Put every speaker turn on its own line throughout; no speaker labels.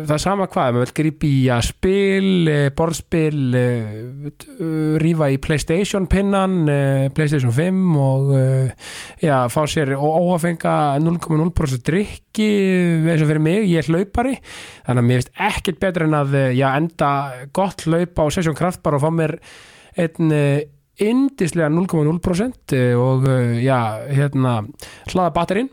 Það er sama hvað, maður vil grípa í að spil, eh, borðspil, eh, uh, rífa í Playstation pinnan, eh, Playstation 5 og eh, já, fá sér óafenga 0,0% drikki eh, eins og fyrir mig, ég er hlaupari þannig að mér finnst ekkert betur en að eh, já, enda gott hlaupa á Session Kraftbar og fá mér einn eh, yndislega 0,0% eh, og eh, já, hérna hlaða batterinn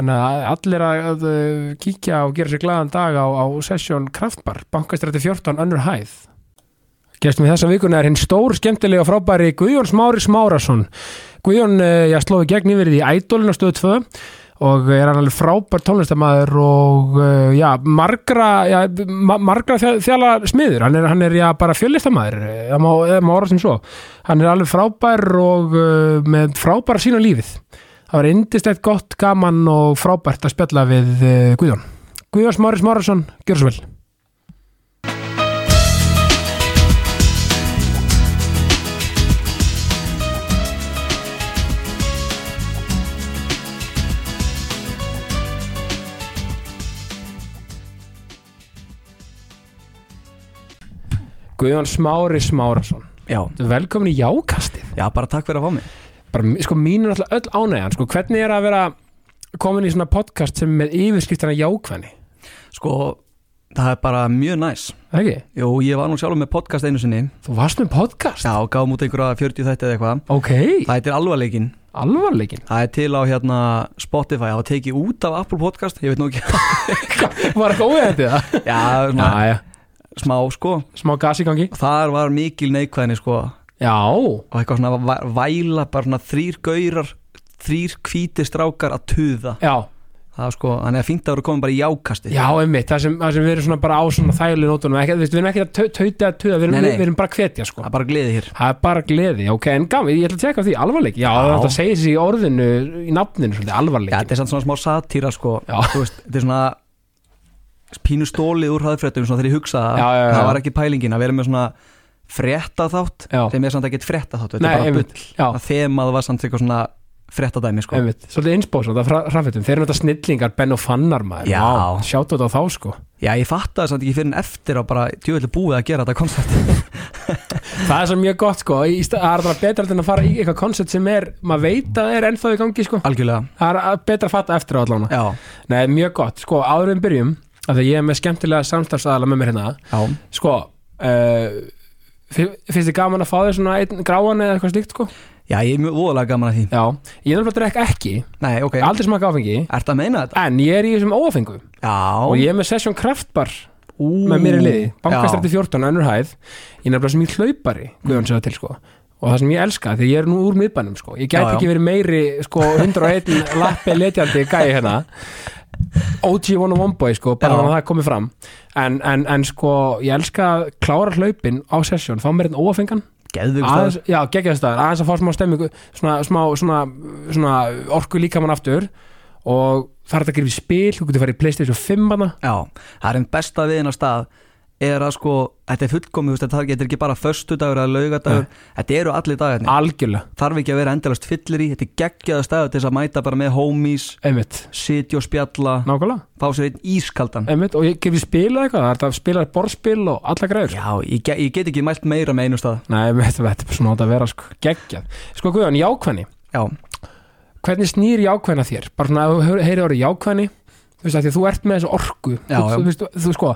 Þannig að allir að, að eh, kíkja og gera sér glaðan dag á, á sessjón Kraftbar, bankastræti 14, önnur hæð. Gestum í þessa vikuna er hinn stór, skemmtilega og frábæri Guðjón Smári Smárasson. Guðjón, eh, já, slói gegn yfir í ædólinu stöðu 2 og er hann alveg frábær tónlistamæður og eh, já, margra, já, ma margra þjá- þjala smiður, hann er, hann er já, bara fjöllistamæður, eh, það má, það má orða sem svo. Hann er alveg frábær og eh, með frábæra sín á lífið. Það var indislegt gott, gaman og frábært að spjalla við eh, Guðjón. Guðjón Smáris Márasson, gjör svo vel. Guðjón Smári Smárasson,
Já,
velkomin í Jákastið.
já, bara takk fyrir að fá mig
bara, sko, mín er alltaf öll ánægjan sko, hvernig er að vera komin í svona podcast sem er með yfirskiptana jákvæðni
Sko, það er bara mjög næs
ekki?
Jú, ég var nú sjálfur með podcast einu sinni
Þú varst með podcast?
Já, gáum út einhverja 40 þætti eða eitthvað
Ok,
Það heitir alvarleikin
alvarleikin
Það er til á hérna Spotify Það var tekið út af Apple Podcast Ég veit nú ekki
Var ekki óið þetta það?
Já, svona,
Já, já,
smá sko
smá gas í gangi
Og Þar var mikil neikvæðni sko
Já,
Og eitthvað svona va- væla bara svona þrýr gaurar Þrýr hvíti strákar að tuða
já,
Það var sko, þannig að fínt að voru komin bara í jákasti
já, einmitt það sem, það sem við erum svona bara á svona þægli nótunum ekki, þú veist, Við erum ekki að tau- tauta að tuða, við erum,
Nei, nei.
við erum bara að hvetja sko
Það er bara gleði hér
Það er bara gleði, ok, en gaman, ég ætla að tjekka á því, alvarleik Já,
Já.
þetta segir sér í orðinu, í nafninu, svolítið,
Já,
alvarleik
þetta er samt svona smá satýra sko
Já.
Þú veist, Þetta er svona pínu stólið úr hraðfréttum svona þegar ég hugsa að
Já, já, já.
það var ekki pælingin að vera með svona fréttaþátt
Já.
sem er samt ekkert fréttaþátt þetta
Nei,
er bara
einmitt,
bull
já.
að þemað var samt eitthvað svona fréttadæmi sko
Einmitt, svolítið innspóð svona, það rafetum Þeir eru þetta snillingar, Ben og Fannar maður
Já.
Sjáttu þetta á þá sko
Já, ég fattaði samt ekki fyrir en eftir að bara djúvillig búið að gera þetta koncept
Það er svo mjög gott sko, í stað- það er bara betra heldur en að fara í eitthvað koncept sem er Maður veit að það er ennþá í gangi sko
Algjörlega
Það er að- betra að fatta eftir á allána
Já,
Nei, mjög gott, sko, áður en við byrjum af því að ég er með skemmtilega samstafsaðala með mér hérna
já,
Sko, uh, finnst þið gaman að fá þér svona einn gráan eða eitthvað slíkt sko?
já ég er mjög voðalega gaman að því
Já, ég er náttúrulega að drekka ekki,
Nei, ok,
aldrei smaka áfengi
ertu að meina þetta?
En ég er í þessum óafengu og
Já,
ég er með Session Kraftbar
ú
með mér í liði,
Já,
bankastrætti 14 önnur hæð, ég er nefnilega sem ég hlaupari Guðjón sér það til sko og það sem ég elska, því ég er nú úr miðbænum sko ég gæti
Já, já.
ekki verið meiri sko 101 lappi letjandi gæi hérna OG 101 boy sko, bara
Já.
þannig að það komið fram en, en, en sko, ég elska að klára hlaupin á sessjón, fá mér einn óafengan
geðvig
aðeins, já, geggjaðstæður, aðeins að fá smá stemmingu svona, smá, svona, svona orku líkamann aftur og þarf þetta að gera í spil, þú getur farið í Playstation 5 hana,
Já, það er einn besta við hennar stað er að sko, þetta er fullkomi veist, það getur ekki bara föstudagur eða laugadagur þetta eru allir dagarnir,
algjörlega,
þarf ekki að vera endalast fyllir í þetta er geggjaða staður til þess að mæta bara með homies
einmitt
sitja og spjalla,
nákvæmlega
fá sér einn ískaldan
Einmitt, og ég gef ég spila eitthvað, það er þetta að spila borðspil og alla græður
Já, ég, ge ég get ekki mælt meira með einu stað
Nei, einmitt, þetta er bara svona átt að vera sko, geggjað Sko Guðjón, jákvæðni,
Já,
hvernig snýr jákvæðna þér? Bara svona, ef þú heyri orðið jákvæðni Þú veist, af því að þú ert með þessu orku
Já,
þú,
já.
Þú, veist, þú sko,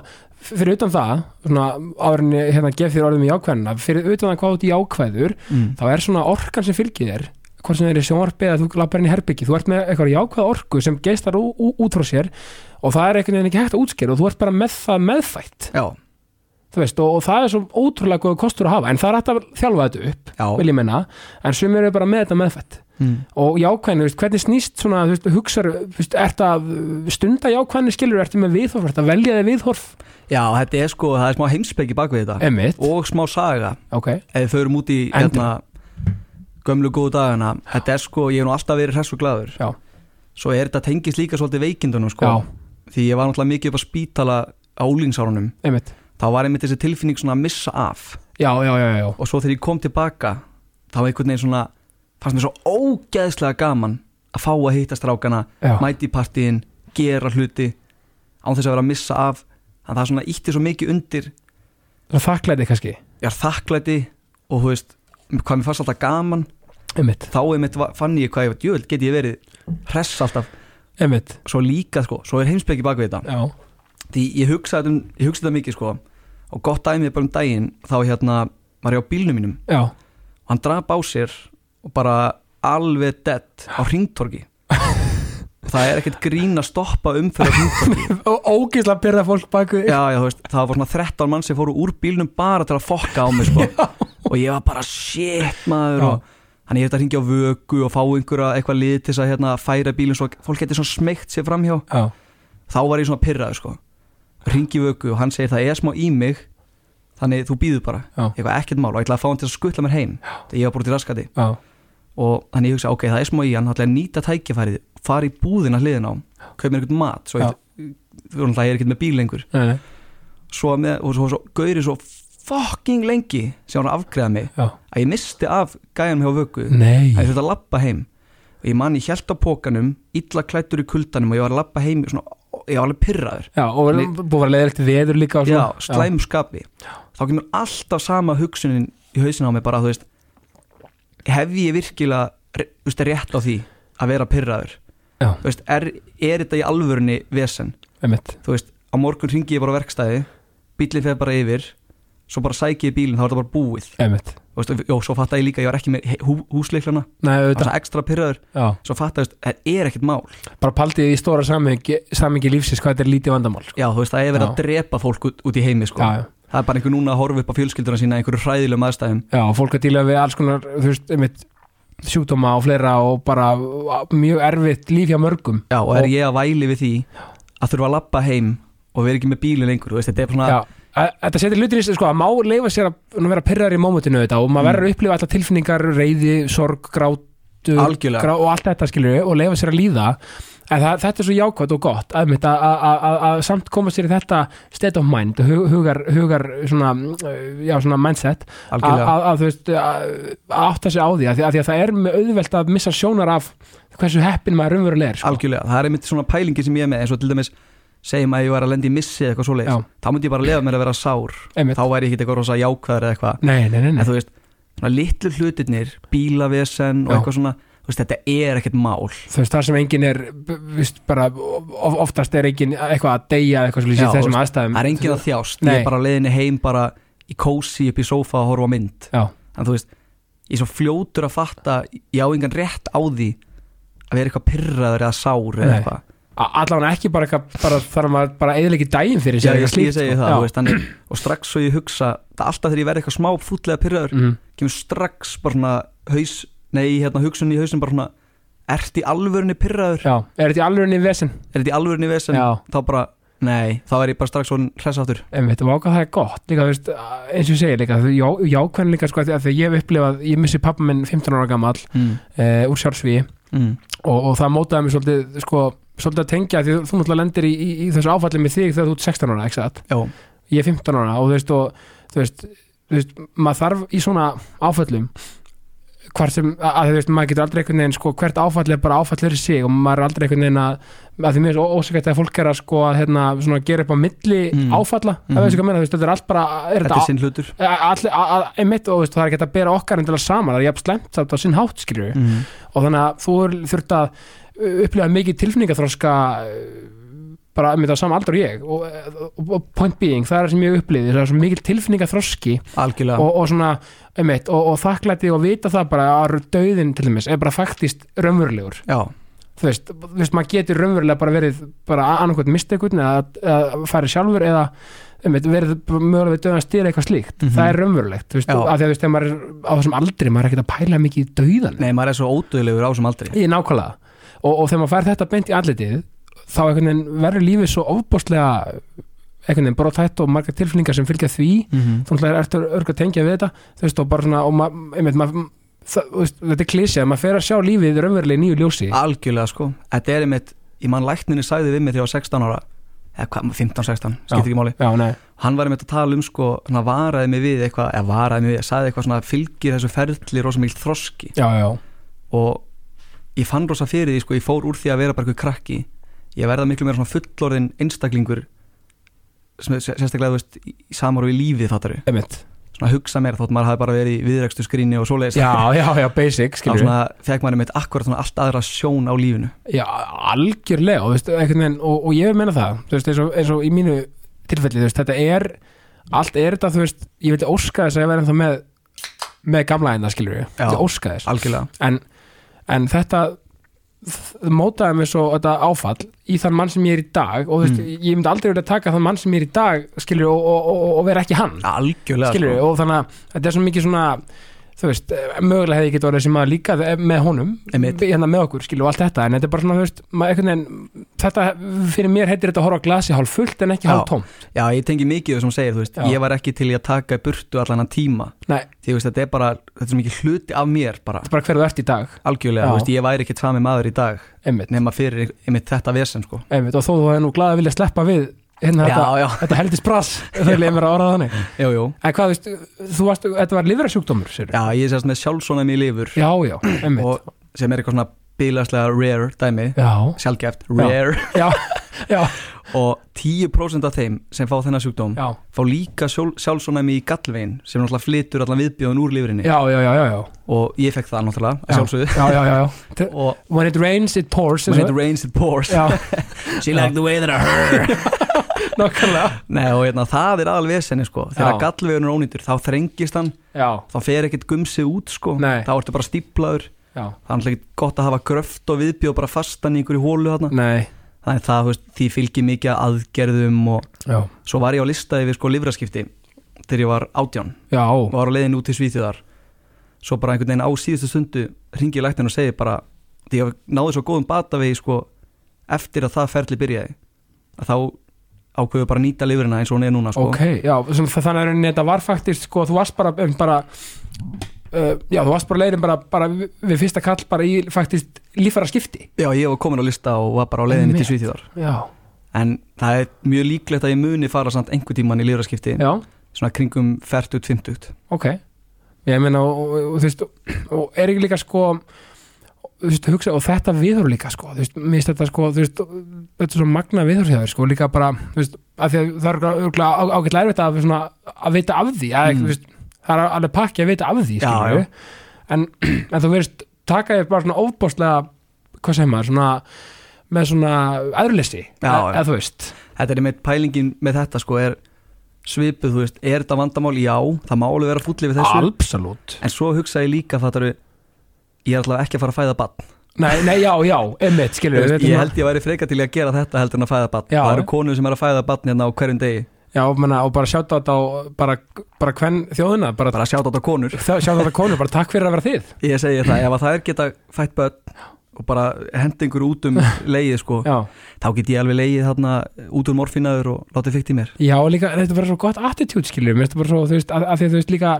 fyrir utan það svona, árinni, hérna, gef þér orðið með jákvæðna fyrir utan það hvað þú ert jákvæður
mm.
þá er svona orkan sem fylgir þér hvort sem þeir eru sjónvarpi eða þú lappar inn í herbyggi, þú ert með eitthvað jákvæða orku sem geistar ú, ú, út frá sér og það er einhvern veginn ekki hægt að útskýra og þú ert bara með það meðfætt
já,
þú veist, og, og það er svo ótrúlega góð kostur að hafa en það er hægt að þjálfa þetta upp,
já
vil ég menna en sumir eru bara með þetta meðfætt
mm.
og jákvæðin, þú veist, hvernig snýst svona þú veist, hugsar, þú veist, ertu að stunda jákvæðin skilur, ertu með viðhorf, ertu að velja þig viðhorf
já, þetta er sko, það er smá heimspeki bak við þetta
emitt,
og smá saga
ok,
ef þau eru út í hérna, gömlu góðu dagana þetta er sko, ég hef nú alltaf verið hress og glaður
Já.
svo er þetta tengist líka svolítið veikindunum sko,
já,
því ég var náttúrulega mikið upp á spítala álínsárunum,
emitt
þá var einmitt þessi tilfinning svona að missa af
já, já, já, já, já,
og svo þegar ég kom tilbaka þá var einhvern veginn svona, fannst mér svo ógeðslega gaman að fá að hitta strákana
já.
mæti í partíin, gera hluti án þess að vera að missa af þannig að það svona ítti svo mikið undir
þakklæði kannski,
ég er þakklæti og þú veist hvað mér fannst alltaf gaman
emitt,
þá einmitt va- fann ég hvað ég var djöld get ég verið hress alltaf
emitt
svo líka sko, svo er heimsbyggi bak við þetta
já,
því ég hugsaði um, ég hugsaði þetta mikið sko og gott dæmið bara um daginn þá hérna var ég á bílnum mínum
já,
og hann drap á sér og bara alveg dead á hringtorki það er ekkert grín að stoppa umferð á hringtorki
og ógisla byrða fólk baku
já, já, þú veist, það var svona 13 mann sem fóru úr bílnum bara til að fokka á mig sko. og ég var bara shit maður
Já.
og hann ég þetta hringi á vöku og fá einhverja eitthvað lið til þess að hérna, færa bílinn svo fólk geti svona smeygt sér framhjá
já,
þá var ég svona pyrraður sko ringi vöku og hann segir það er smá í mig þannig þú býður bara
Já.
ég var ekkert mál og ég ætlaði að fá hann til að skutla mér heim þegar ég var bara út í raskati
já,
og þannig ég hugsa, ok, það er smá í hann ætla ég að nýta tækifærið, fara í búðina hliðin á kaup mér eitthvað mat svo
Já.
ég, þú veist, ég er ekkert með bíl lengur
nei, nei,
svo með, og svo, svo gauri svo fucking lengi sem hann afgreða mig
já Mm.
að ég misti af gæjan hjá vöku að
nei,
ég þurfti að labba heim og ég man, ég held á pókanum illa klættur í kuldanum og ég var að labba heim svona, ég var alveg pyrraður
já, og
Nei.
búið að vera leiðilegt veður líka og
já,
svona.
slæmum skapi þá kemur alltaf sama hugsunin í hausin á mig bara, þú veist hef ég virkilega re- þú veist, rétt á því að vera pyrraður
Já.
Þú veist, er, er þetta í alvörunni vesen
já, emitt,
þú veist, á morgun ringi ég bara á verkstæði bílinn fer bara yfir svo bara sæki ég bílinn, þá er þetta bara búið
emitt
Þú veist, og- jó, svo fatta ég líka, ég var ekki með he- hú, húsleiklana
nei,
það var
auðvitað,
svona ekstra pyrraður,
já
svo fatta ég, þú veist, það er ekkert mál
bara paldið í stóra samhengi, samhengi lífsins hvað þetta er lítið vandamál sko.
já, þú veist, það er verið að
Já.
drepa fólk út, út í heimi sko.
já, já,
það er bara einhver núna að horfa upp á fjölskylduna sína í einhverju hræðilegum aðstæðum
já, og fólk að díla við alls konar þú veist, einmitt, sjúkdóma og fleira og bara uh, mjög erfitt líf hjá mörgum
Já, og er ég að væli við því að þurfa að lappa heim og vera ekki með bílinn lengur, þú veist, þetta er svona
Já, að- þetta setir hlutin í sig, sko, að má leifa sér að að vera pyrrar í mómutinu þetta og
Mm.
maður verður að upplifa alltaf tilfinningar, reyði, sorg, grátu
Algjörlega.
grá, og allt þetta skilur og leifa sér að líða en það, þetta er svo jákvæmt og gott að, mitt, að, að, að, að samt koma sér í þetta state of mind, hu- hugar, hugar svona, uh, já, svona mindset að,
algjörlega
að, að þú veist að, að átta sér á því, að því að, því að það er með auðvelt að missa sjónar af hversu heppin maður raunverulega er, sko.
algjörlega, það er einmitt svona pælingi sem ég er með eins og til dæmis segjum að ég var að lenda í missi eða eitthvað svoleiðis,
Já.
þá myndi ég bara lefa mér að vera sár
einmitt,
þá væri ég ekkert eitthvað rosa jákvæður eða eitthvað
nei, nei, nei,
en
nei.
þú veist, svona litlu hlutirnir bílavesen og
Já.
eitthvað svona þú veist, þetta er ekkert mál
þú veist, þar sem enginn er b- víst, bara, of, oftast er enginn eitthvað að deyja eða eitthvað
Já,
svolítið í
þú
þessum aðstæðum
það er enginn að þjást, ég
Nei.
er bara á leiðinni heim bara í kósi upp í sófa að horfa á mynd
Já.
en þú veist, ég er svo fljótur að fatta ég á engan rétt á því að vera eitthvað pyrraður eða sár eða
Nei.
eitthvað
allan ekki bara, eitthvað- bara þarf maður bara eðilegi dægin fyrir sér
ég,
eitthvað
ég,
slíkt,
segi
sko.
það,
Já.
þú veist, þannig, og strax svo ég hugsa það er alltaf þegar ég verð eitthvað smá fútlega pyrraður
Mhm.
kemur strax bara svona haus, nei, hérna hugsun í hausin bara svona ert í alvörunni pyrraður
Já, er þetta í alvörinni vesen?
er þetta í alvörunni vesen,
Já.
þá bara nei, þá er ég bara strax svona hressaftur
Einmitt, og ákvað það er gott líka, þú veist, eins og ég segi líka þú- já, jákvæðan líá, líka sko, af því að þegar ég hef upplifað ég missi pappa minn 15 ára gamall
mm.
e, úr sjálfsvíi
mm.
og, og það mótaði mig svolítið, sko, svolítið að tengja því þú- þú náttúrulega lendir í, í, í þessu áfalli með þig þegar þú ert 16 ára, ekki satt?
já,
ég er 15 ára og þú veist, og, þú veist, þú veist maður þarf í svona áföllum hvar sem, að, að þú veist, maður getur aldrei einhvern veginn sko, hvert áfall er bara áfall fyrir sig og maður er aldrei einhvern veginn að, að því mér er ósækætt að fólk er að sko að hérna, svona, gera upp á milli
Mm.
áfalla, mm.
Mhm.
það veist ekki að meina, þú veist, þetta er allt bara er
þetta
þetta,
er sinn hlutur
þetta all, a, a, einmitt og þú veist, það er ekki hægt að bera okkar endilega saman, það er jafn slemt samt á sinn hátt skilju
mm.
og þannig að þú er- þurft að uh, upplifa mikið tilfinningaþroska uh, bara með það sama aldrei ég og, og, og point being, það er það sem ég upplýði það er svo mikil tilfinninga þroski
algjörlega
og, og svona, einmitt, og, og þakklæti og vita það bara að döðin til þess er bara faktist raunverulegur
já,
þú veist, þú veist, maður getur raunverulega bara verið bara annarkvæmt mistekun eða, eða farið sjálfur eða einmitt, verið bara mögulega við döðan að stýra eitthvað slíkt
Mhm.
það er raunverulegt, þú veist,
Já.
af því að þú veist, þegar maður er á þessum aldri, maður er ekkert að pæla mikið í döðan
nei, maður er svo ódöðlegur á þessum aldri
í nákvæmlega og, og þegar maður fær þetta beint í andlitið þá einhvern veginn verður lífið svo ofbóstlega einhvern veginn brotætt og margar tilfinningar sem fylgja því
mm
þú náttúrulega ertu örg að tengja við þetta þú veist og bara svona og maður, einmitt, maður það, þú veist, þetta er klísja, maður fer að sjá lífið raunverulega í nýju ljósi
algjörlega sko, þetta er einmitt ég mann lækninni sagði við mig þegar ég var 16 ára eða hvað, 15-16, skiptir ekki máli
já, nei,
hann var einmitt að tala um sko, hann varaði mig við eitthvað, eða varaði mig við, sagði eitthvað svona fylgir þessu ferli rosa mikil þroski
já, já,
og ég fann rosa fyrir því sko, ég fór úr því að vera bara eitthvað krakki ég verða miklu meira svona fullorðin einstaklingur sem er sér- sérstaklega þú veist, í- samar og í lífið þáttaru
einmitt
svona hugsa meira þótt maður hafi bara verið í viðrækstu skríni og svoleiðis
já, já, já, basic,
þá
skilur við
svona fekk maður einmitt akkurat svona allt aðra sjón á lífinu
já, algjörlega, og, þú veist, einhvern veginn og, og ég vil menna það, þú veist, eins og, eins og í mínu tilfelli, þú veist, þetta er allt er þetta, þú veist, ég vil óska þess að ég verðum það með, með gamla enda, skilur við,
Já.
ég óska þess
algjörlega,
en, en þetta þ- mótaði mig svo þetta áfall í þann mann sem ég er í dag og þú veist, ég myndi aldrei verið að taka þann mann sem ég er í dag skilur og, og, og, og vera ekki hann
algjörlega
skilur og þannig að þetta er svo mikið svona þú veist, eh, mögulega hefði ég getið orðið sem maður líka eh, með honum,
Einmitt.
við- hérna með okkur skilur og allt þetta, en þetta er bara svona, þú veist maður, einhvern veginn, þetta, fyrir mér heitir þetta að horfa á glasi hálf fullt en ekki
Já.
hálf tóm
sko. já, ég tengi mikið þessum segir, þú veist,
Já.
ég var ekki til í að taka í burtu allan að tíma,
Nei,
því þú veist, þetta er bara þetta er svo mikið hluti af mér bara
þetta er bara hver þú ert í dag
algjörlega,
Já.
þú veist, ég væri ekki tvami maður í dag
einmitt,
nema fyrir einmitt þetta vesen sko.
einmitt, og þó þú hefði nú glaðið að vilja sleppa við hérna þetta,
já,
þetta heldist brass, þau leið mér að orða þannig
jú, jú.
En hvað veist, þú varst, þetta var livrasjúkdómur, sér
já, ég er sérst með sjálfsónum í lifur
já, já, emmitt
og sem er eitthvað svona bílaslega rare dæmi,
Já,
sjálfgeft rare,
já, já,
og 10% af þeim sem fá þennan sjúkdóm
já,
fá líka sjálf, sjálfsónæmi í gallvegin sem náttúrulega flytur allan viðbjóðin úr lifrinni
já, já, já, já, já,
og ég fekk það náttúrulega, að
Já.
sjálfsögðu
já, já, já, já. Te-
og
When it rains, it pours
when it rains it pours
Já,
she liked the way that I heard
nokkarlega
Nei, og hérna, það er alveg vesenni sko þegar
Já.
gallvegin er ónýtur þá þrengist hann
Já,
þá fer ekkert gumsið út sko
Nei.
þá ertu bara stíplaður
já,
það er náttúrulega ekkert gott að hafa gröft og viðbjóð bara fastan í einhverju hólu þarna
nei,
þannig að það, þú veist, því fylgir mikið af aðgerðum og
já,
svo var ég á lista yfir sko livraskipti þegar ég var átján
já,
og var á leiðin út til Svíþjóðar svo bara einhvern veginn á síðustu stundu ringi ég læknin og segi bara því ég náði svo góðum batavegi sko eftir að það ferli byrjaði að þá ákveðu bara að nýta lifrina eins og hún er núna sko
ok, já, sem, þa- þannig að rauninni þetta var faktist, sko, þú varst bara, um, bara uh, já, þú varst bara leirin bara, bara við við fyrsta kall bara í faktist lífara skipti
Já, ég var komin á lista og var bara á leiðinni til
Einmitt.
Svíþjóðar
Já,
en það er mjög líklegt að ég muni fara samt einhvern tíman í lifraskipti
já,
svona kringum 40-50
ok ég meina og, og, og þú veist og er ekki líka sko þú veist, hugsa, og þetta viður líka sko þú veist, mér finnst þetta sko þú veist, þetta er svo magna viður hjá þér sko líka bara þú veist, að því að það er örugglega- örugglega á- ágætlega erfitt að, svona, að vita af því að,
Mm.
þú veist, það er alveg pakki að vita af því
Já,
skilurðu.
já.
En, en þú veist taka þér bara svona ofbóstlega hvað sem maður svona með svona aðurleysi
Já, já.
eða þú veist
Þetta er með pælingin með þetta sko er svipuð, þú veist, er þetta vandamál? Já, það má alveg vera fúlli við þessu
absolutt
En svo hugsa ég líka fattar ég er allavega ekki að fara að fæða barn
nei, nei, já, já, emmitt skilur
Þú veist, Ég held ég væri freka til í að gera þetta heldur en að fæða barn
Já.
Það eru konur sem er að fæða barn hérna á hverjum degi
Já, menna, og bara sjáta þetta á bara, bara hvern þjóðina bara,
Bara að sjá þetta á konur
sjáta þetta konur, bara takk fyrir að vera þið
Ég segi það, ef að þær geta fætt barn og bara hendi yngur út um leiði sko,
Já,
þá get ég alveg leiði þarna út úr morfinaður og látið fyrt í mér
já og líka, þetta er bara svo gott attitude skilur, mér finnst þetta bara svo, þú veist, af af því að þú veist líka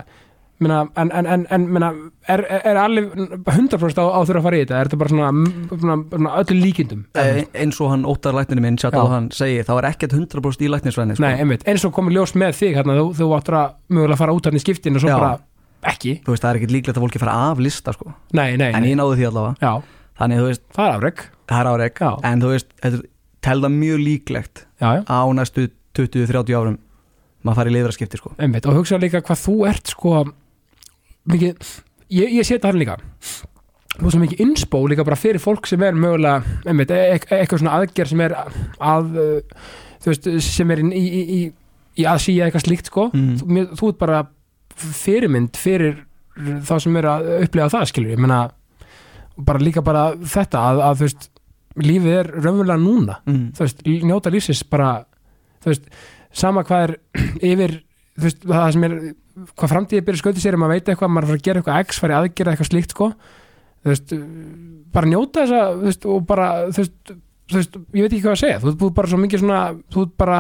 minna, en, en, en, en minna, er, er er alveg 100% á, á þurfa að fara í þetta, er þetta bara svona, mm, svona, svona öllu líkindum
Eh, eins og hann óttar lækninu minn, sjátt
Já.
að hann segir þá er ekkert 100% í læknisvæðinni sko.
Nei, einmitt, eins og komið ljós með þig hérna, þú, þú áttur að mögulega fara út hann í skiptin og svo
Já.
bara ekki,
þú veist, það er ekkert líklegt að fólki fara af lista sko.
nei, nei,
en
nei.
ég náði því allavega
Já,
þannig þú veist,
það er afreg
það er árek
Já,
en þú veist, þetta er telda mjög líklegt
já, já
á næstu 20-30 árum maður fari í liðraskipti sko
einmitt, og hugsa líka hvað þú ert sko mikið, ég, ég sé þetta hann líka rosa mikið innspó líka bara fyrir fólk sem er mögulega einmitt, e e eitthvað svona aðgerð sem er að uh, þú veist, sem er í, í, í, í að síja eitthvað slíkt sko
Mm.
þú, mér, þú ert bara fyrirmynd fyrir þá sem eru að upplega það skilur ég meina bara líka bara þetta að, að þú veist lífið er raunverulega núna
mm.
þú veist, njóta lífsins bara þú veist, sama hvað er yfir, þú veist, það sem er hvað framtíðið byrja skautið sér, ef maður veit eitthvað maður fyrir að gera eitthvað x, farið aðgerða eitthvað slíkt sko. þú veist, bara njóta þessa, þú veist, og bara þú veist, þú veist, ég veit ekki hvað að segja þú ert búið bara svo mikið svona, þú ert bara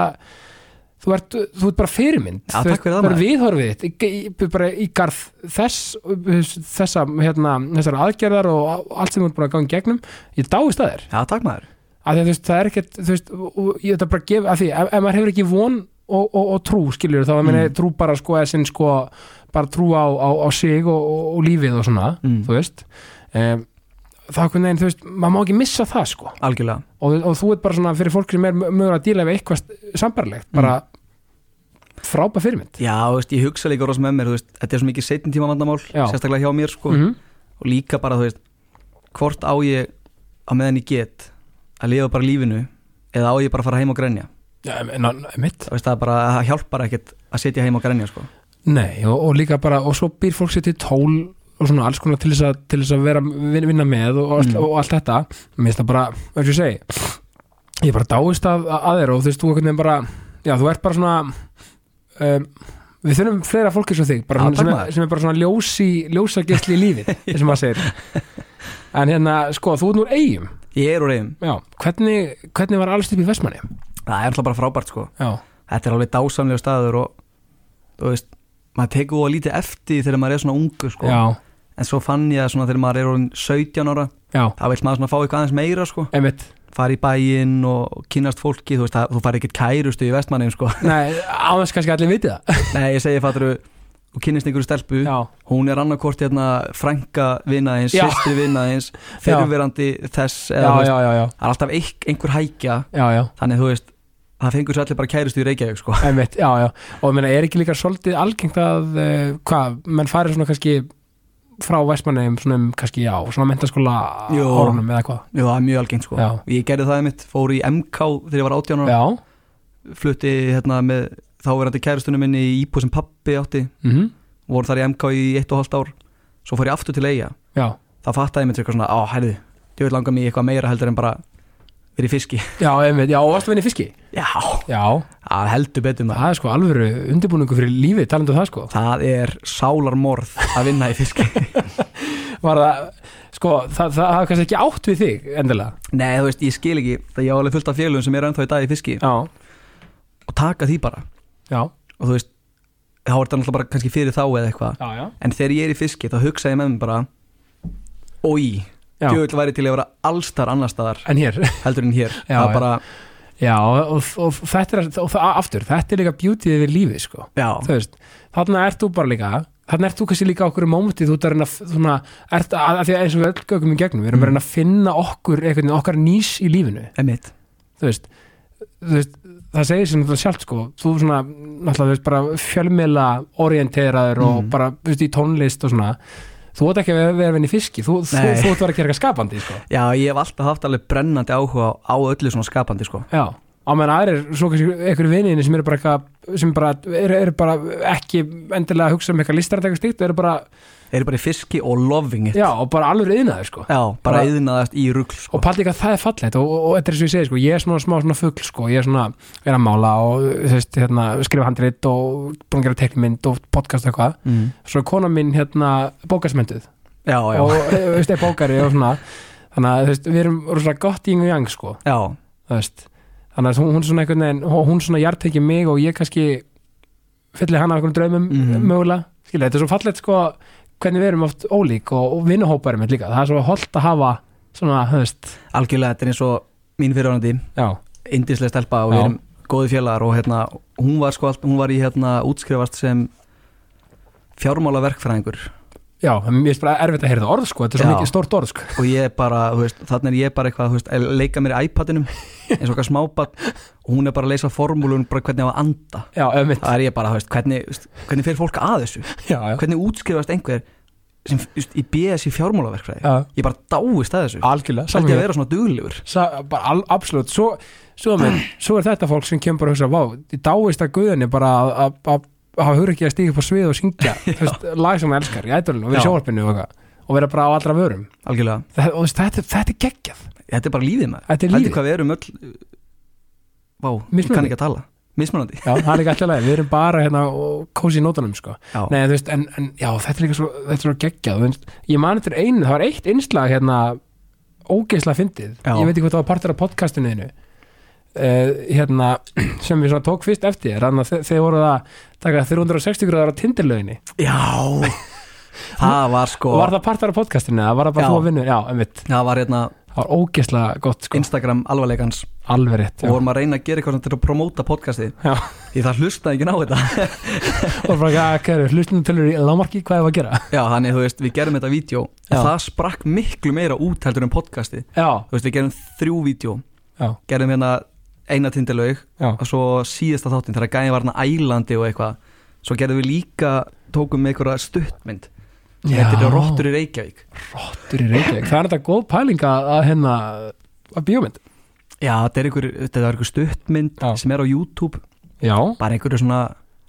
þú ert, þú ert bara fyrirmynd
Já,
þú
takk fyrir það,
bara
maður.
viðhorfið þitt í- í- í- bara í garð þess þessa, hérna, þessar aðgerðar og allt sem þú ert búin að ganga í gegnum ég dáist að þér
Já, takk maður
að því að þú veist, það er ekkert þú veist, og- og ég ætla bara að gefa að því, ef, ef maður hefur ekki von og, og, og trú, skiljur, þá mm. meina, ég trú bara sko, eða sinn sko, bara trú á, á, á sig og, og, og lífið og svona
Mm.
þú veist um, þá hvernig veginn, þú veist, maður má ekki missa það sko,
Algjörlega
og, og þú ert bara svona fyrir fólk sem er mö- mögulega að díla við eitthvað sambarlegt, bara frábæð fyrirmynd
Já, þú veist, ég hugsa líka rosa með mér, þú veist, þetta er svo mikið setjum tíma vandamál,
Já.
sérstaklega hjá mér, sko,
mm -hmm.
og líka bara, þú veist, hvort á ég á meðan ég get að lifa bara lífinu eða á ég bara að fara heim og grenja,
ja, en, en, mitt
þú veist, það er bara, það hjálpar ekkert að setja heim og grenja, sko.
Nei, og, og líka bara, og svo býr fólk sér til tól og svona alls konar til þess að, til þess að vera, vin- vinna með og, allt,
Mm.
og allt þetta mér finnst það bara, eins og ég segi ég bara dáist að, að þér og þú veist, þú einhvern veginn bara já, þú ert bara svona um, við þurfum fleira fólki svo þig bara
Já,
svona,
takk
sem,
maður.
er, sem er bara svona ljósi ljósagesli í lífið, eins og maður segir en hérna, sko, þú ert núr eigum
Ég er úr eigum,
já, hvernig, hvernig var alls upp í Vestmanni?
það er alltaf bara frábært, sko.
Já,
Þetta er alveg dásamlega staður og, þú veist, maður tekur og lítið eftir því þegar maður er svona ungu, sko.
já,
En svo fann ég að svona þegar maður er orðin 17 ára,
já,
þá vill maður svona fá eitthvað aðeins meira, sko.
einmitt
fara í bæinn og kynnast fólki þú veist að þú fari ekkert kærustu í vestmannum sko.
Nei, áðans kannski allir viti það
nei ég segi fattur og kynnist einhverju stelpu
Já,
hún er annarkort hérna frænka vinaðins,
Já.
sýstri vinaðins fyrirverandi þess
já,
eða,
já,
þú veist,
já, já,
það er alltaf eik, einhver hækja
já, já.
þannig þú veist það fengur sér allir bara kærustu í Reykjavík sko.
Einmitt, já, já. og ég meina, er ekki líka svolítið algengt að uh, hvað, menn farið svona kannski frá Vestmanneum svona um kannski já, svona mentaskóla
Jú.
árunum eða hvað
Jú, það er mjög algengt sko.
Já.
ég gerði það mitt, fór í MK þegar ég var 18 ára
Já,
flutti hérna með þáverandi kærustunum minni í íbú sem pappi átti
mhm,
voru þar í MK í eitt og hálft ár svo fór ég aftur til eiga
já,
þá fattaði ég mér til eitthvað svona, á, herðu, ég vil langa mig í eitthvað meira heldur en bara verið í fiski.
já, einmitt, já, og varstu að vinna í fiski
Já,
Já,
það heldur betur maður.
það er sko alvöru undirbúningu fyrir lífið, talandi um það sko
Það er sálarmorð að vinna í fiski.
Var það, sko, það, það, það hafði kannski ekki átt við þig endilega
Nei, þú veist, ég skil ekki, það ég á alveg fullt af félugum sem eru ennþá í dag í fiski
Já,
og taka því bara.
já,
Og þú veist, þá er þetta náttúrulega bara kannski fyrir þá eða eitthvað.
já, já,
En þegar ég er í fiski, þá hugsa ég með mér bara, oi,
Já.
djöfull væri til að vera allstar annar staðar
en hér
heldur en hér.
Já,
það
já.
er bara,
Já, og, og, og þetta er, og það, aftur, þetta er líka beautyið við lífið sko
já,
þú veist, þarna ert þú bara líka þarna ert þú kannski líka okkur í mómenti þú ert að reyna að- svona, ert að, að því að eins og við öll gögum í gegnum, við erum
Mm.
að reyna að finna okkur einhvern veginn okkar nýs í lífinu
emitt.
þú veist, þú veist það segir sér náttúrulega sjálft sko þú svona, náttúrulega, þú veist, bara fjölmiðla orienteraður og
Mm.
bara þú veist, í tónlist og svona þú átt ekki að vera- vera venni fiski, þú, þú,
Nei.
þú átt að vera að gera eitthvað skapandi sko,
Já, ég hef alltaf haft alveg brennandi áhuga á á öllu svona skapandi, sko.
já á meðan aðrir, svo kannski einhverju vinninni sem eru bara, eitthvað- sem bara, eru, eru bara ekki endilega að hugsa um eitthvað listar eitthvað stíkt, eru bara
Þeir eru bara í fiski og loving it
Já, og bara alveg yðnaður sko
Já, bara
Bara-
yðnaðast í rugl
Og
sko.
pælt líka að það er fallegt og, og, og þetta er eins og ég segi sko, ég er svona smá svona fugl sko, ég er svona, er að mála og þú veist, hérna, skrifa handrit og búin að gera teknimynd og podcast og eitthvað
mm.
Svo er kona mín hérna bókarsmynduð
Já, já,
og e, þú veist, er bókari og svona Þannig að þú veist, við erum rosalega gott í yngu jang sko,
já
þú veist Þannig að hún, hún svona einhvern veginn, hún hún svona jartekir mig og ég kannski fyllir hana af einhvern draumum
Mhm.
mögulega Skilja, þetta er svo fallegt sko hvernig við erum oft ólík og, og vinnuhóparum líka, það er svo holdt að hafa svona, þú veist,
Algjörlega þetta er eins og mín fyrirvænandi
já
Indislega stelpa og
Já.
við erum góði félagar og hérna, hún var sko allt, hún var í hérna útskrifast sem fjármálaverkfræðingur
Já, en mér finnst bara erfitt að heyra það orð sko, þetta er svo
Já.
mikið stórt orð sko.
og ég bara, þú veist, þannig er ég bara eitthvað, þú veist, að leika mér í iPadinum eins og okkar smábat og hún er bara að leysa formúlun bara hvernig á að anda
Já, ömmit
það er ég bara, þú veist, hvernig, þú veist, hvernig fer fólk að þessu
Já, já,
hvernig útskrifast einhver sem, just, í BS í fjármálaverkfræði
já,
ég bara dáist að þessu
algjörlega
Þetta
saman
að
hér.
vera svona duglegur
Sa- bara al, absolutt, svo, svo, menn, svo er þetta fólk sem kemur bara að hugsa vá, ég dáist að guðinni bara að- að- að hafa hugur ekki að stíka upp á svið og syngja þú veist, lag sem hann elskar í ædolinu og við
Já.
sjóvarpinu og, eitthvað, og vera bara á allra vörum
Algjörlega,
þetta, og þú veist, þetta, þetta er geggjað
þetta er bara lífið maður
Þetta er lífið.
hvað við erum öll uh, Vá, ég
Mismunandi.
kann ekki að tala Mismunandi
já, það er ekki alltaf leið, við erum bara hérna og kósi í nótunum sko
Já,
Nei, þú veist, en, en já, þetta er líka svo, þetta er svo geggjað þú veist, Ég man eftir einu, það var eitt innslag hérna, ógeisla fyndið
Já.
Ég veit ekki hvað það var partur af podcastinu þínu uh, hérna, sem við svona tók fyrst eftir þannig að þe- þeir voru að taka 360 gráðar á tindirlöginni
já. Það var sko
og var það partur af podcastinu, eða var það bara
Já.
þú að vinna Já, einmitt,
Það var hérna
það var ógeisla gott sko,
Instagram alvarleikans
alveg rétt
og
já.
vorum að reyna að gera eitthvað svona til að promóta podcastið
Já.
Því það hlustaði ekki á þetta
og bara, ja, kæru, hlustinu tölur í lámarki hvað ég var að gera
Já, þannig þú veist, við gerum þetta vídeo
Já.
og það sprakk miklu meira út heldur en podcastið
Já,
Þú veist, við gerum þrjú vídeo
já,
Gerum hérna eina tindilög
já,
og svo síðasta þáttinn þegar gæði var hérna ælandi og eitthvað Svo gerum við líka, tókum með einhverja stuttmynd Þetta
Já.
eru rottur í Reykjavík
Rottur í Reykjavík, það er þetta góð pæling að, að hérna, að bíómynd
Já, þetta er einhver, þetta er einhver stuttmynd
Já.
sem er á YouTube
Já,
bara einhverju svona,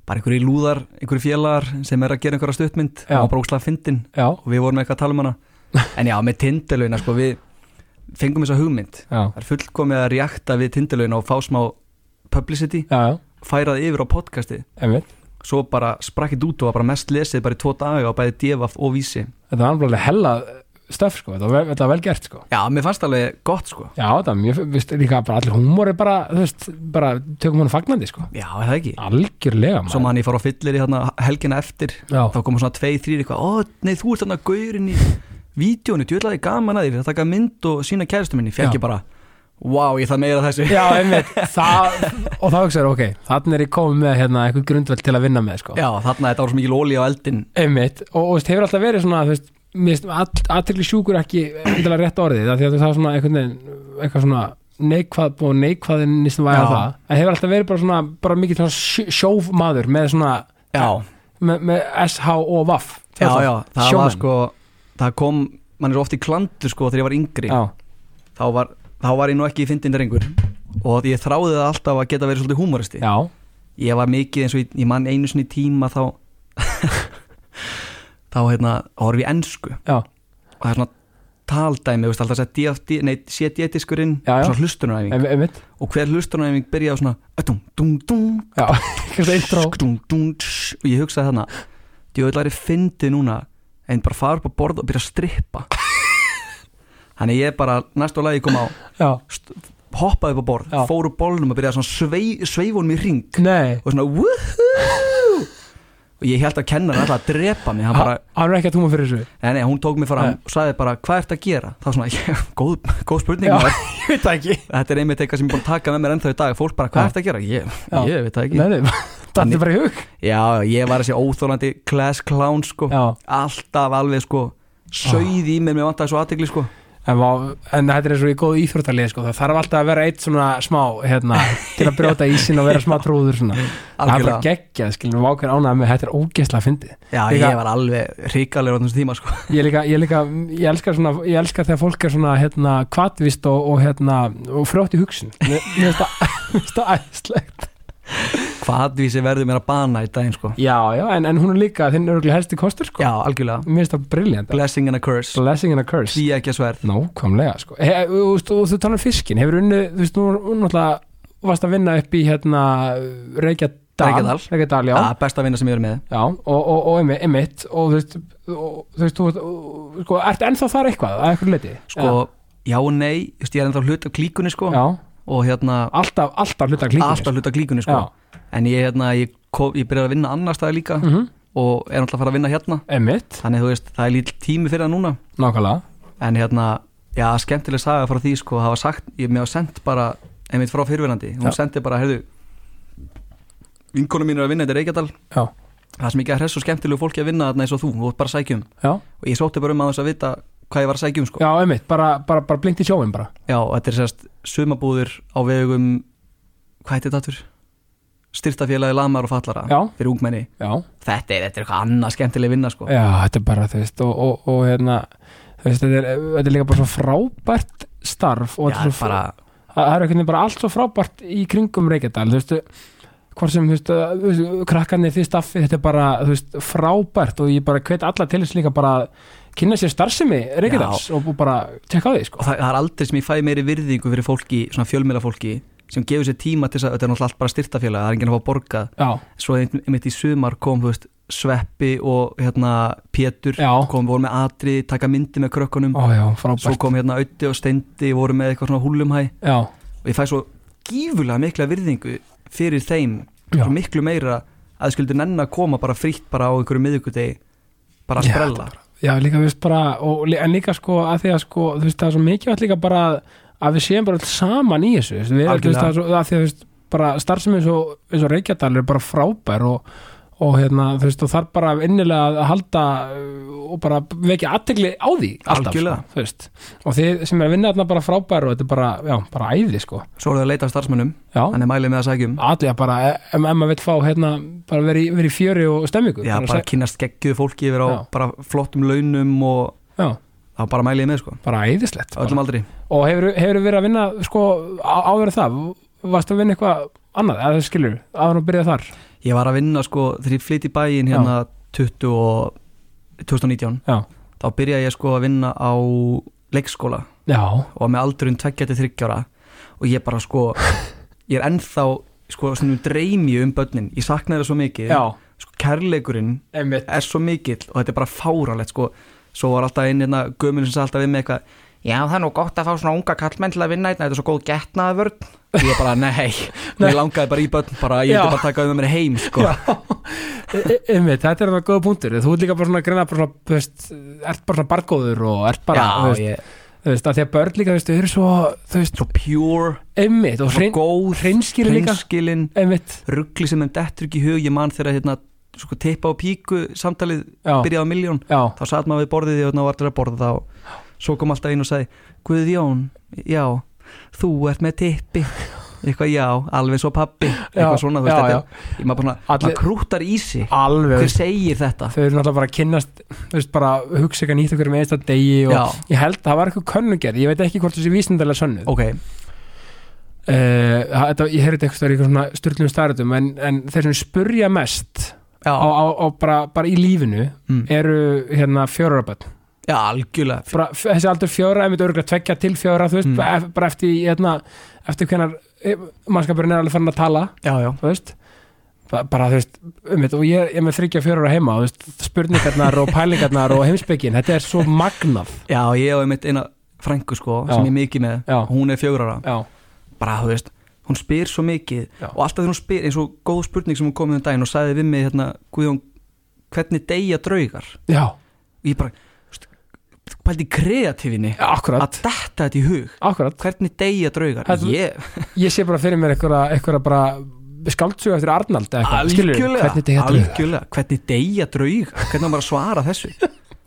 bara einhverju lúðar einhverju félagar sem er að gera einhverja stuttmynd
Já.
og bara óslega fyndin
já,
og við vorum eitthvað að tala um hana en já, með tindalögina, sko, við fengum þessa hugmynd
já
það er fullkomið að reakta við tindalögina og fá smá publicity,
já, já,
færa það yfir á podcasti
einmitt
svo bara sprakkið út og var bara mest lesið bara í tvo daga á bæði devaf og vísi
þetta var alveg hella stöf sko, þetta var, vel- þetta var vel gert sko
já, mér fannst alveg gott, sko
já, þetta var mjög, viðst, líka bara allir húmor er bara, þú veist, bara tökum hann fagnandi sko,
já, er það ekki
algjörlega
Svo mann ég fór á fyllir í þarna helgina eftir
já,
þá koma svona tvei, þrýr eitthvað ó, nei, þú ert þarna gaurinn í vídjónu, djöðlaði gaman að þér, það taka mynd og sína kæristu minni,
Já.
fekk ég bara wow, ég það meira af þessu
já, einmitt það, og þá hugsaður, ok, þannig er ég komið með hérna eitthvað grundvöld til að vinna með sko
Já, þarna þetta var svo mikil óli á eldin
einmitt, og, og þú veist, hefur alltaf verið svona, þú veist, mér finnst aðtekli sjúkur ekki endilega rétt orðið, af því að það er svona einhvern veginn, eitthvað svona neikvað, búið neikvaðin nýstum væða
Já.
það en hefur alltaf verið bara svona, bara mikið svona sjó- sjófmaður með svona
Já,
með, með SH og VAF
já, já, það
Sjómenn.
var sko það kom, mann er oft í klandur sko þegar ég var yngri,
já,
þá var þá var ég nú ekki í fyndin drengur og ég þráði það alltaf að geta verið svolítið húmoristi
já,
ég var mikið eins og ég, ég mann einu sinni í tíma þá þá hérna, þá horfum ég ensku
já,
og það er svona taldæmi, þú veist alltaf að nei, CD-diskurinn,
Já, já.
svona hlustunaræfing
Ein- einmitt
og hver hlustunaræfing byrjaði á svona dung, dung, dung,
já, eitthvað intro
dung, dung, tss, og ég hugsaði þarna djöðlari fyndi núna en bara fara upp á borð og byrja að strippa þannig ég bara næstu lagi kom á,
já,
st- hoppaði upp á borð
Já.
fór úr bólnum og byrjaði að svona svei, sveifunum í ring
nei
og svona woohoo og ég held að kennar alltaf að drepa mig hann bara,
Ha- Eh. hann er ekki að túma fyrir þessu
Nei, nei, hún tók mig fram
Nei.
og sagði bara, hvað ert að gera? Það var svona, ég, góð, góð spurning
Já.
maður.
ég veit það ekki
Þetta er einmitt eitthvað sem ég er búin að taka með mér ennþá í dag Fólk bara, hvað
Já.
ert að gera? Ég,
Já.
ég veit það ekki
nei, nei, þetta er bara í hug
Já, ég var þessi óþólandi class clown sko
já,
Alltaf alveg sko Sauð í mér, mér vantaði svo aðtegli sko
En, vá, en þetta er eins og í góð íþróttalið sko. það þarf alltaf að vera eitt svona smá hérna, til að brjóta ísin og vera smá trúður svona. það er bara
Algjörlega
geggjað skilur við ákveðin ánægð með þetta er ógeðslega fyndið
Já,
Líka-
ég var alveg ríkalegur á þessum tíma sko
ég, líka, ég, líka, ég, elska svona, ég elska þegar fólk er svona hérna, kvatvist og, og, hérna, og frjótt í hugsun mér mér finnst það- mér finnst það æðislegt
Hvaðvísi verður mér að bana í daginn sko
já, já, en, en hún er líka þinn örgulega helsti kostur sko.
Já, algjörlega
mér finnst það briljant
Blessing and a curse
blessing and a curse
Því ekki að sverð
Nákvæmlega sko he, og, og, og, og þú talar um fiskin, hefur unni þú veist, nú nú náttúrulega varst að vinna upp í hérna Reykjadal
Reykjadal.
Reykjadal, já,
Já, besta vinna sem ég er með
já og, og, og einmi- einmitt og þú veist, og, þú veist þú, og, sko, ertu ennþá þar eitthvað að eitthvað leiti?
Sko, já og nei, þú veist, ég er ennþá hlut af klíkunni sko
já, já,
Og hérna,
alltaf, alltaf hluta klíkur
alltaf hluta klíkunni sko
Já.
en ég, hérna, ég, kom, ég byrjaði að vinna annar staði líka
mm
og er náttúrulega að fara að vinna hérna
einmitt,
þannig þú veist, það er lítill tími fyrir það núna
nákvæmlega
en hérna, já, skemmtileg saga frá því sko, hafa sagt, ég mér hafa sendt bara einmitt frá fyrirverandi, hún
Já.
sendi bara, heyrðu vinkonu mín er að vinna þetta í Reykjadal
já,
það sem ekki að hress og skemmtilegu fólki að vinna þarna eins og þú, þú ert bara að sækja um
já,
og ég sótti bara um aðeins að vita hvað ég var að sækja um sko.
já, einmitt bara, bara, bara blinkt í sjóin bara
já, þetta er sérst sumabúður á vegum hvað heitir þetta aftur? styrtafélagi lamar og fallara
Já.
fyrir ungmenni
já,
þetta er, þetta er eitthvað annað skemmtileg vinna sko.
já, þetta er bara þú veist og, og, og hérna þú veist, þetta, er, þetta er líka bara svo frábært starf og
Já,
þetta er svo
bara,
það er einhvern veginn bara allt svo frábært í kringum Reykjadal, þú veistu hvort sem, þú veistu, þú veistu, krakkarnir því staffi þetta er bara, þú veist, frábært og ég bara hvet alla til þess líka bara að kynna sér starfsemi Reykjadals og og bara tekka á því,
og
sko
það, það er aldrei sem ég fæ meiri virðingu fyrir fólki, svona fjölmjöla fólki sem gefur sér tíma til þess að þetta er náttúrulega allt bara styrtafélagi það er enginn að fá að borga
já,
svo ein- einmitt í sumar kom þú veist, Sveppi og hérna, Pétur
já,
kom, voru með atri, taka myndi með krökkunum
ó já,
svo
frábært
kom hérna Ötti og Steindi voru með eitthvað svona húlumhæ
já,
og ég fæ svo gífulega mikla virðingu fyrir þeim
já,
svo miklu meira að þið skildur nenn að koma bara frítt bara á einhverju miðugudegi bara að
Já,
sprella
já, líka, þú veist, bara og, lí- en líka, sko, að því að, sko, þú veist, það er svo mikilvægt líka bara að- að við séum bara alls saman í þessu, þú veist, við, þú veist,
Algjörlega.
það er svo, að því að, þú veist, bara starfsemi eins og, eins og Reykjadal er bara frábær og og hérna, þú veist, og þarf bara innilega að halda uh, og bara vekja aðtegli á því alltaf, sko,
Algjörlega.
þú veist, og þið sem er að vinna þarna bara frábær og þetta er bara, já, bara æði, sko,
svo eru það að leita að starfsmönnum,
já
hann er mælið með að um. sækjum
aðlega bara, e, ef ef maður vill fá hérna, bara verið veri í fjöri og stemmingu
já,
bara
bara kynast geggjuð fólki yfir á
Já.
bara flottum launum og
já,
þá bara mælið með sko,
bara æðislegt
á öllum aldri
og hefur, hefur verið að vinna sko, á, áður en það, varst að vinna eitthvað annað, eða skilur, áður að byrja þar
ég var að vinna sko, þegar ég flytt í bæin hérna 20 og 2019
Já.
þá byrjaði ég sko að vinna á leikskóla
já,
og var með aldurinn 23 ára og ég bara sko ég er ennþá sko svona dreimi um börnin, ég sakna þeirra svo mikið
já,
sko kærleikurinn
einmitt
er svo mikill og þetta er bara fáralegt sko svo var alltaf einn hérna gömur sem sagði alltaf við með eitthvað já það er nú gott að fá svona unga kallmenn til að vinna hérna, þetta er svo góð getnaða vörn ég er bara nei,
Nei.
ég langaði bara í börn bara, ég
Já.
vildi bara taka um mér heim sko.
Já. E- einmitt, þetta er það góða punktur þú ert líka bara svona að greina bara svona, þú veist, ert bara svona bargóður og ert bara þú veist,
ég,
þú veist, að því að börn líka, þú veist, þau eru svo þú veist,
svo pure,
einmitt og
svo
hrein,
góð
hreinskýri líka
hreinskilin,
einmitt,
ruggli sem þeim dettur ekki í hug ég man þegar hérna sko, teipa á píku samtalið
já,
byrjaði á miljón
já
þá satt maður við borðið hérna og var til að borða þá svo kom alltaf inn og sagði Guðjón, já, þú ert með tippi eitthvað já, alveg svo pappi eitthvað svona,
já,
þú veist þetta
já.
er- ég maður bara, svona-
Allir-
maður krúttar í sig
alveg,
hver segir þetta
þau eru náttúrulega bara að kynnast þú veist, bara hugsa eitthvað nýtt okkur með einsta degi og
já,
ég held að það var eitthvað könnungerð ég veit ekki hvort þessi vísindalega sönnu
ok,
Eh, það- þetta, ég heyrði eitthvað eitthvað svona styrlum starðum en, en þeir sem spurja mest
já,
á, á, á bara, bara í lífinu
mm.
eru hérna fjóraraböld
já algjörlega
bara, f- þessi aldur fjóra, einmitt örgulega tvekja til fjóra þú veist,
Mm.
mm. bara eftir, hérna, eftir hvenar mannskapurinn er alveg farin að tala
já, já,
þú veist Ba- bara þú veist, einmitt, og ég, ég er með þryggja fjóra ára heima, þú veist, spurningarnar og pælingarnar og heimspekin, þetta er svo magnað
já, ég og einmitt eina frængu sko,
Já.
sem ég er mikið með
já,
hún er fjórara,
já,
bara þú veist hún spyr svo mikið
Já.
og alltaf þegar hún spyr eins og góð spurning sem hún komið um daginn og sagði við mig hérna, Guðjón, hvernig deyja draugar
já,
og ég bara veist, pældi í kreatífinni að
akkurat
detta þetta í hug
akkurat,
hvernig deyja draugar
Þetta-
ég,
ég sé bara fyrir mér einhverja, einhverja bara skáldsögu eftir Arnald eða eitthvað, skilur, hvernig þetta er
algjörlega hvernig deyja draugar, hvernig á maður að svara þessu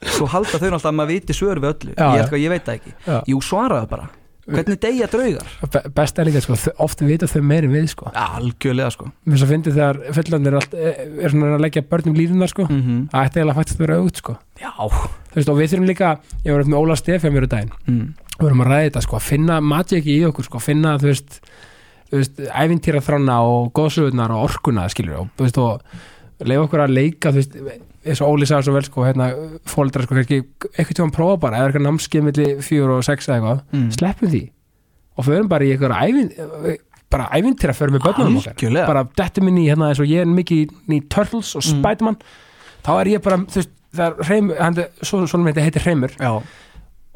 svo halda þau náttúrulega að maður viti svör við öllu,
Já, já.
ég, held að ég veit það ekki
Já.
jú svaraðu bara, hvernig deyja draugar
Be- best er líka, sko, þau- oft vita þau meiri við, sko
algjörlega sko
mér svo fyndi þegar fullandir er, allt- e, er svona að leggja börnum líðunar, sko
mm -hmm.
það ætti eiginlega fætt að vera auðt, sko
já
Þú veist, og við þurfum líka, ég var upp með Óla Stef hjá mér í daginn,
mm.
við vorum að ræða þetta sko, að finna magiki í okkur, sko, finna þú veist, þú veist, æfintýra þrána og góðsögurnar og orkuna, skilur og, þú veist, og leiða okkur að leika þú veist, eins og Óli sagði svo vel sko, hérna, fóldra, sko, kannski, eitthvað tíma prófa bara, eða eitthvað námskið milli fjör og sex eða eitthvað,
Mm.
sleppum því og förum bara í eitthvað ævin, bara æfintýra förum við börnum okkar
algjörlega
bara dettum inn í hérna eins og ég er mikið í- í Turtles og
Mm.
Spiderman þá er ég bara, þú veist, það er Reymur hann, er- svo, svona myndi heitir Reymur
já,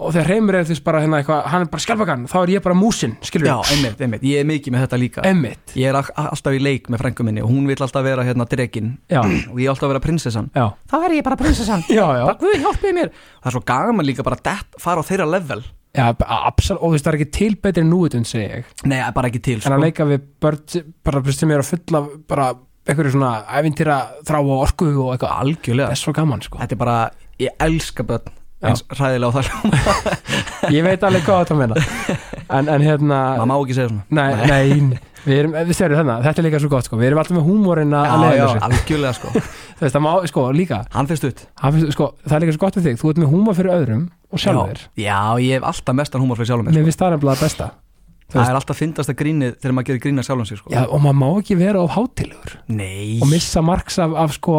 og þegar Reymur er þú veist bara hérna eitthvað hann er bara skjálpakann, þá er ég bara músin, skilur
já einmitt, einmitt, ég er mikið með þetta líka
Emmitt,
ég er a- a- alltaf í leik með frængu minni og hún vil alltaf vera hérna dregin
já,
og ég er alltaf að vera prinsessan
já
þá er ég bara prinsessan
já, já,
bara guð hjálpið mér það er svo gaman líka bara að fara á þeirra level
já absol, og þú veist það er ekki til betri núutun segi ég,
nei, bara ekki til
en
sko.
að leika við börn bara þú veist, sem eru að fulla af bara einhverju svona æfintýra þrá og orku og eitthvað, það
algjörlega
er svo gaman sko
þetta er bara, ég elska börn
Já.
eins ræðilega og það hljóma
ég veit alveg hvað þetta meina en, en hérna,
maður má ekki segja svona
nei, nei Við erum, eh, við serum þannig, þetta er líka svo gott sko Við erum alltaf með húmórin að
já, já,
leiða þessu
algjörlega sko
Þú veist, það má, sko, líka
Hann finnst upp
hann finnst- sko, Það er líka svo gott við þig, þú ert með húmór fyrir öðrum og sjálfur
Já, já, ég hef alltaf mestan húmor fyrir sjálfum
Mér
mér sko.
finnst það nefnilega besta þú
Það er alltaf fyndast að grínið þegar maður gerir grína sjálfum sér sko
Já, og maður má ekki vera of hátilegur
Nei
og missa margs af, af sko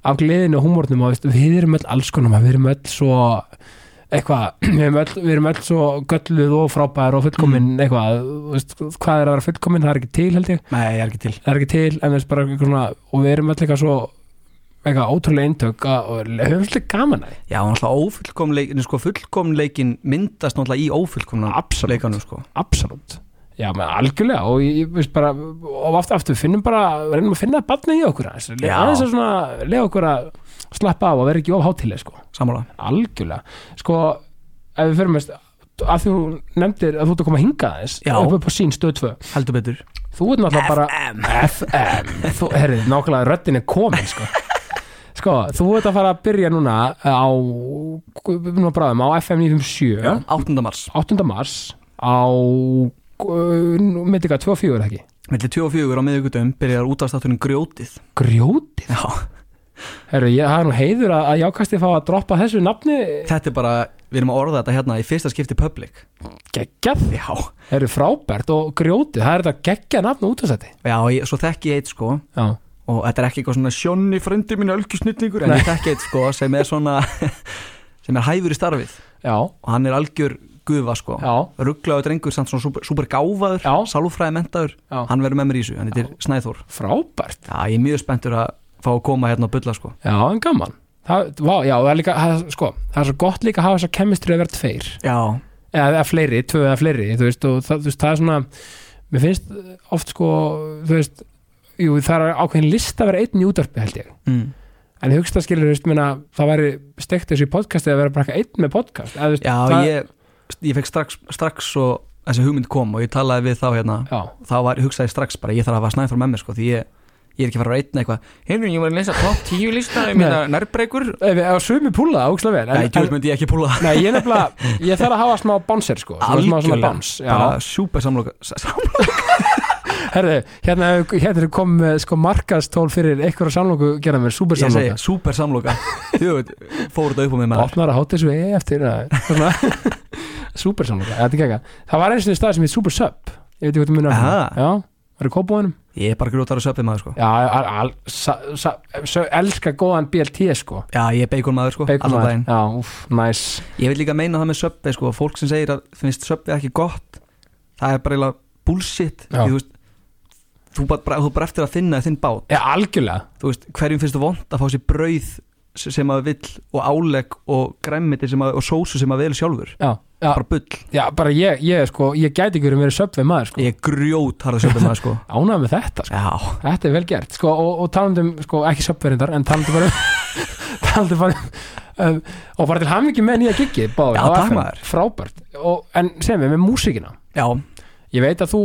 af gleðinu og húmórnum og veist, við erum öll alls konum, við erum öll svo eitthvað, við erum öll, við erum öll svo gölluð og frábæðar og fullkomin
Mm.
eitthvað, þú veist, hvað er að vera fullkomin það er ekki til held ég,
Nei, ég er ekki til
það er ekki til en við bara eitthvað svona, og við erum öll eitthvað svo eitthvað ótrúlega eintök að- og höfum svolítið gaman að því
Já, hann alltaf ófullkomleikin sko, Fullkomleikin myndast náttúrulega í ófullkomna
Absolutt.
leikanum sko
absolutt Já, menn algjörlega og ég, ég veist bara og aftur, aftur finnum bara, reynum að finna barnið í okkur aðeins,
Já.
aðeins að svona lega okkur að slappa af og vera ekki of hátileg sko,
Sammála
algjörlega sko, ef við fyrir mest að þú nefndir að þú ert að koma hingað aðeins
Já.
upp upp á sín stöð 2
Heldur betur
þú ert náttúrulega bara
FM
FM, þú, herrið, nákvæmlega röddin er komin sko. sko, þú ert að fara að byrja núna á núna bráðum, á FM 957
Já, 8. mars
8. mars á eh, myndika 24 er það ekki
Mellir 24 á miðvíkutum byrjar útastátturinn grjótið
grjótið,
Já
herru, ég það er nú heiður að, að jákasti fá að droppa þessu nafni
Þetta er bara, við erum að orða þetta hérna í fyrsta skipti public
geggjað,
Já
herru frábært og grjótið, það er þetta geggjað nafn út af þetta
Já, ég, svo þekki ég eitt sko
já,
og þetta er ekki eitthvað svona Sjónni frendi minn ölgjusnýtningur en ég þekki eitt sko sem er svona sem er hæfur í starfið
já,
og hann er algjör gufa sko
já,
rugglaður drengur samt svona super, super gáfaður
Já.
sálfræði mentaður,
Já.
hann verður með mér í þessu hann heitir Snæþór
frábært
Já, ég er mjög spenntur að fá að koma hérna og bulla sko
já, en gaman það, vá, já, það er líka, það, sko, það er svo gott líka að hafa þess að kemistri að vera tveir
Já,
eða, eða fleiri, tvö eða fleiri þú veist, og það, þú veist, það er svona mér finnst oft sko þú veist, jú, það er ákveðin list að vera einn í útvarpi held ég
mm.
en ég hugsta skilur, þú veist, minna, það væri steikt þessu í podcasti að vera bara eitthvað einn með podcast eða, þú veist,
Já
það,
ég, ég fekk strax, strax svo þessi hugmynd kom og ég talaði við þá hérna
já,
þá var, hugsaði ég strax bara, ég þarf að hafa Snæþór með mér sko því ég, ég er ekki að fara að reyna eitthvað Heyrðu, ég var að lesa top 10 lista um
Nei.
hérna nærbreikur
ef, ef sumi púla, ókslega vel
Nei,
en,
djúl
en,
myndi ég ekki púla
nei, ég nefnilega, ég þarf að hafa smá bánser sko, svona- smá svona báns já.
bara súper samloka samloka-
herðu, hérna, hérna er kom eh, sko markastól fyrir einhverja samlóku gerða mér, súper
Ég segi,
samlóka
súper samloka Þú veit, fór þetta upp á mig maður
opnar að hátta þessu vegi eftir súper samlóka, þetta er ekki það var eins og stað sem heit súper sub ég veit ekki hvað þú munir
Aha.
eftir. já, var í kópóinum
Ég er bara grjótar og söpið maður sko
já, al, al, sa, sa, sa, elska góðan BLT sko
Já, ég er bacon maður sko,
Bacon
allan daginn
maður. Já, úf, næs
Ég vil líka meina það með söpið sko Fólk sem segir að finnst söpið ekki gott Það er bara eiginlega bullshit
Já.
Því, Þú veist Þú bara- bara, þú bara eftir að finna þinn bát
Já, algjörlega
Þú veist, hverjum finnst þú vond að fá sér brauð se- sem að vill og álegg og græmmiti sem að, og sósu sem að vel sjálfur
Já, já,
bara bull,
já bara ég, ég sko Ég gæti ekki verið meiri söpvið maður sko
ég er grjót harða söpið maður sko
Ánægð með þetta sko
Já,
Þetta er vel gert sko Og, og talandum, sko, ekki söpverindar En talandum bara um- Talandum bara um, um, Og bara til hamingi með nýja giggi báði,
Já,
á
takk,
FM.
maður.
Frábært og, En segjum við með músíkina
já,
Ég veit að þú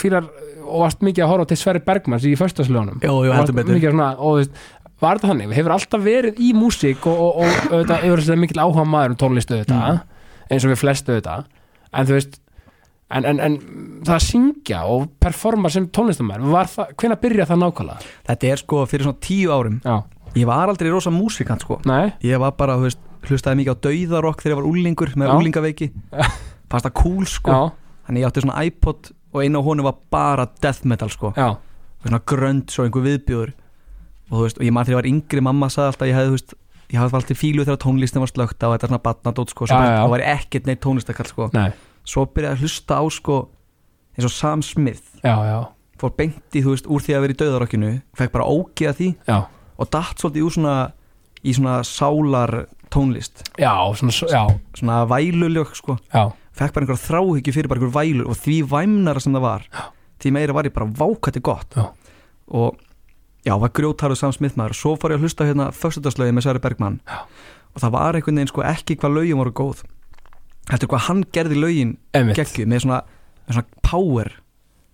fýlar Og varst mikið að horfa til Sverri Bergmanns í föstaslögunum
Jú, jú, heldur betur.
Mikið svona, og þú veist Var þetta þannig? Við hefur alltaf verið í músík og, og, og auðvitað, auðvitað mikil áhuga maður um tónlistu auðvitað eins og við flestu auðvitað en þú veist en, en, en það að syngja og performa sem tónlistamæður, var það, hvenær byrja það nákvæmlega?
þetta er sko fyrir svona tíu árum
Já,
Ég var aldrei rosa músikant sko
nei,
Ég var bara, þú veist, hlustaði mikið á dauðarokk þegar ég var úlingur með
Já.
úlingaveiki Fast það cool sko Þannig ég átti svona iPod og einu á honum var bara death metal sko
já, já,
Svona grönd svo einhver viðbjóður Og þú veist, og ég maður þegar ég var yngri mamma sagði alltaf að Ég hefði, þú veist, ég hafði alltaf fílu þegar tónlistin var slögt á Þetta er svona batnadót sko
Já,
Svo bara,
já.
það var ekkert neitt tónlistakall sko
nei,
Svo byrjaði að hlusta á sko eins og Sam Smith
já, já,
Fór beinti, þú veist, úr því að vera í dauðarokkinu Fekk bara ógeða því
já,
og datt svolítið úr svona í svona sálar tónlist
já, svona, svo- já,
svona væluljök sko
já,
fekk bara einhver þráhyggju fyrir bara einhver vælu og því væmnara sem það var því meira var ég bara vákætti gott
Já.
og já, var grjótarðu samsmið maður og svo fór ég að hlusta á hérna föstudagslögin með Sari Bergmann
Já.
og það var einhvern veginn sko ekki hvað lögin voru góð heldur hvað hann gerði lögin
einmitt,
geggju með svona, með svona power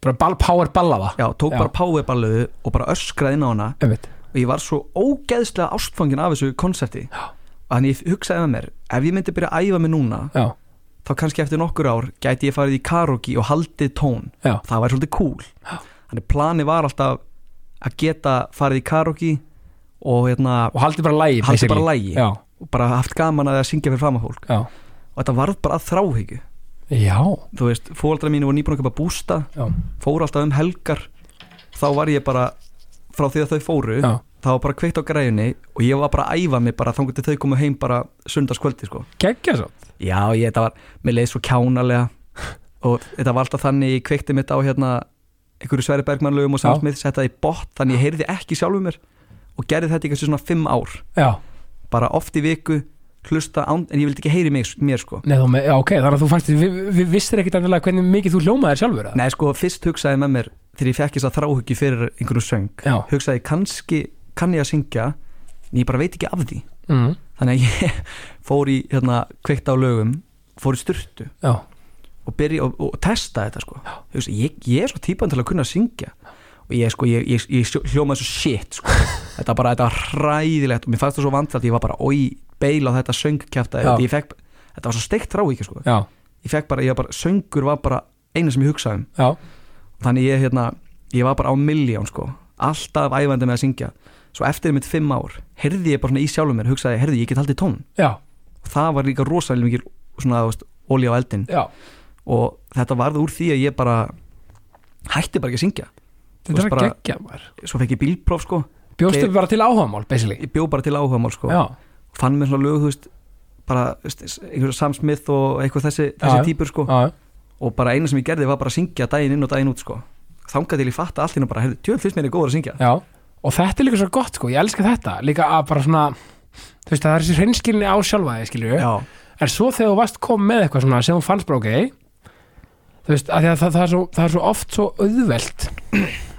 bara ball, power ballaða,
já, tók
Já.
bara power balluðu og bara öskraði inn á hana
einmitt,
og ég var svo ógeðslega ástfangin af þessu konsepti
Já.
og þannig ég hugsaði með mér ef ég myndi byrja að æfa mig núna
já,
þá kannski eftir nokkur ár gæti ég farið í karaoke og haldið tón
Já.
það væri svolítið cool
Já.
þannig planið var alltaf að geta farið í karaoke og hérna,
og haldið bara lægi
haldið bara lægi
já,
og bara haft gaman að syngja fyrir fram að fólk
já.
og þetta varð bara að þráhyggju
já,
þú veist, fóaldra mínu voru nýbúin að köpa bústa
já,
fóru alltaf um helgar þá var ég bara, frá því að þau fóru
já.
þá var bara kveikt á græjunni og ég var bara að æfa mig bara þangur til þau komu heim bara sundarskvöldi sko.
geggja svo
Já, ég, þetta var, mér leið svo kjánalega og þetta var alltaf þannig ég kveikti mitt á hérna einhverju Sverri Bergmann lögum og
Já.
samsmið settaði í bótt, þannig ég heyrði ekki sjálfu mér og gerði þetta í kannski svona fimm ár
já,
bara oft í viku, hlusta án, en ég vildi ekki heyri mig, mér sko
Nei, þá, með- já, ok, þannig að þú fannst við, við vissir ekkit andilega hvernig mikið þú hljómaðir sjálfur eða?
Nei, sko, fyrst hugsaði ég með mér þegar ég fekk þess að þráhyggju fyrir einhverju söng
já,
hugsaði ég, kannski kann ég að syngja en ég bara veit ekki af því
mm,
þannig að ég fór í hérna, kveikt á lögum, fór í styrtu
já,
og, byrja, og, og testa þetta sko. Hugsa, ég, ég er svo típan til að kunna syngja og ég, sko, ég, ég, ég sjó- hljómaði svo shit sko. þetta, bara, þetta var hræðilegt og mér fannst það svo vandrætt ég var bara oi beila á þetta söngkjafta
Já.
ég fekk, þetta var svo steikt rá ekki sko.
já,
ég fekk bara, ég var bara, söngur var bara eina sem ég hugsaði um
já
þannig ég, hérna, ég var bara á miljón sko. alltaf æfandi með að syngja svo eftir mitt fimm ár heyrði ég bara svona í sjálfum mér hugsaði, heyrði ég get haldið tón
já,
og það var líka rosalega mikil svona, þú veist, olja á eldin
já,
og þetta varð úr því að ég bara hætti bara ekki að syngja
þetta er
veist
að
bara-
geggja maður
svo fekk ég bílpróf sko,
bjóstu
Ég-
bara til áhagamál, basically
ég bjó bara til áhugamál sko,
já,
fann mér svona lög þú veist, bara þú veist, einhver Sam Smith og eitthvað þessi, þessi
Já, já.
típur sko,
já, já.
og bara eina sem ég gerði var bara að syngja daginn inn og daginn út sko. þangað til ég fatta allt hérna bara, heyrðu, tjöld fyrst mér er góður að syngja
Já, og þetta er líka svo gott sko, ég elska þetta líka að bara svona, þú veist að það er þessi hreinskilni á sjálfa þig, skilur
já,
en svo þegar þú varst kom með eitthvað svona sem þú fannst bara ok þú veist, að að það, það, er svo, það er svo oft svo auðvelt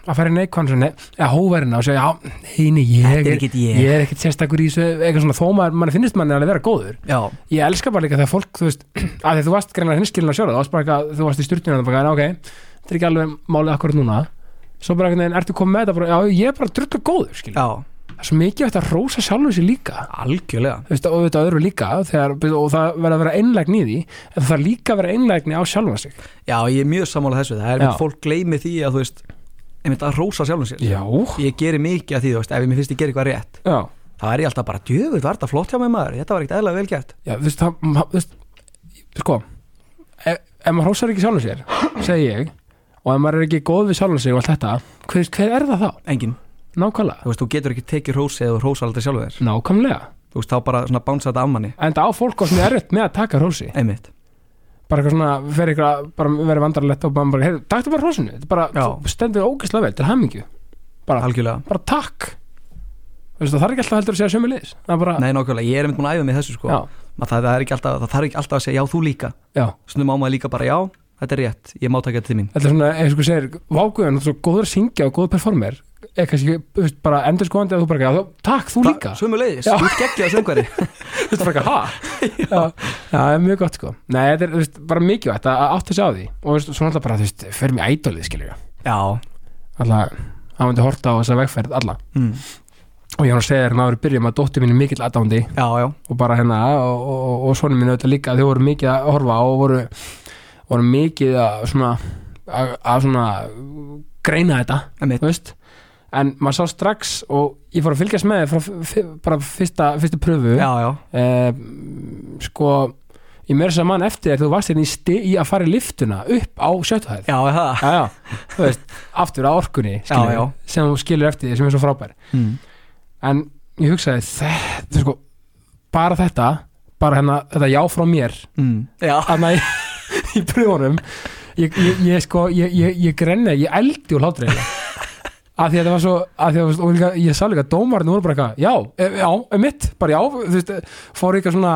að fara í neikvæðan svona, eða hóverina og segja, já, heini, ég,
Þetta er ekkert ég.
ég er ekkert sérstakur í þessu, eitthvað svona, þó maður, mann finnst manni alveg vera góður
já,
ég elska bara líka þegar fólk, þú veist að því þú varst greinlega hinskilin að sjóra, þú varst bara eitthvað þú varst í styrtinu og það bara, "Já, ok, þetta er ekki alveg málið akkurat núna, svo bara einhvern veginn ertu komið með þetta, bara, já, ég er bara drullu góður skilur.
já,
það er svo mikið hægt að rósa sjálfum sér líka
algjörlega
Þú veist, og auðvitað öðru líka þegar, og það verður að vera einlægni í því en það þarf líka að vera einlægni á sjálfan sig
já, ég er mjög sammála þessu, það er
Já.
mitt fólk gleymi því að þú veist, einmitt að rósa sjálfum sér
já,
ég geri mikið af því, þú veist, ef ég mér finnst ég gera eitthvað rétt
já,
þá er ég alltaf bara, djöfull, var þetta flott hjá mig maður þetta var ekkert eðla vel gert
já þú veist, það, ma- þú veist sko ef, ef maður hrósar ekki sjálfan sér segi ég, og ef maður er ekki góð við sjálfan sig og allt þetta, hver, hver er það þá?
engin,
nákvæmlega,
þú veist, þú getur ekki tekið rósi eða þú rósar aldrei sjálfur þér
nákvæmlega
þú veist, þá bara svona bánsa þetta af manni
en það á fólk og sem er erfitt með að taka hrósi
einmitt,
bara eitthvað svona, fer eitthvað, bara verið vandrarlegt og bara, hey, taktu bara hrósinu, þetta er bara
Já.
þú stendur ógæslega vel til hamingju bara,
algjörlega
bara takk Þú veist, það er ekki alltaf heldur að segja sömu liðs það er bara,
nei, nákvæmlega, ég er einmitt búin að æfa mig í þessu sko
já,
Að það, það, er ekki alltaf, það þarf ekki alltaf að segja já, þú líka
já
svona má maður líka bara, já, þetta er rétt ég má taka þetta til mín
Þetta er svona, eins og þú segir, váguðan og svo góður að syngja og góður performer er kannski, þú veist, bara endur skoðandi að þú bara, já, takk, þú líka Þú
sömu leiðis,
Já.
þú geggja þessu einhverji
veist, bara, ha? Já, það er mjög gott, sko Nei, þetta er, þú veist, bara mikilvægt að átt þessi á því og, þú veist, svona alltaf bara, þú veist, fer mér ædolið, skilur ég
já,
Alltaf, hann myndi horta á þessa vegferð, alla
mm.
og ég var að segja þér, náður byrjum að dóttir mín er mikill aðdándi
já, já,
og bara hérna, og, og, og, og sonum mín auðvitað líka, þau voru mikið að horfa og voru, voru mikið að svona, að, að svona greina þetta
einmitt
þú veist en maður sá strax og ég fór að fylgjast með þér frá f- f- bara fyrsta, fyrstu pröfu
já, já,
eh, m, sko ég meira þess að mann eftir þér þú varst hérna í, sti, í að fara í liftuna upp á sjöttu hæð
já, það
já, já, þú veist, aftur á orkunni skilur,
Já, já.
sem þú skilur eftir því sem er svo frábær
mm.
en ég hugsaði þetta sko, bara þetta bara hérna, þetta já frá mér
Mm. já,
þarna í, í pröfunum ég, ég, ég sko, ég, ég, ég grenna ég eldi úr hlátur eiginlega. af því að þetta var svo að því að, þú veist, og líka, ég sá líka að dómarinn voru bara eitthvað, já, e- já, e- mitt bara já, þú veist, fór eitthvað svona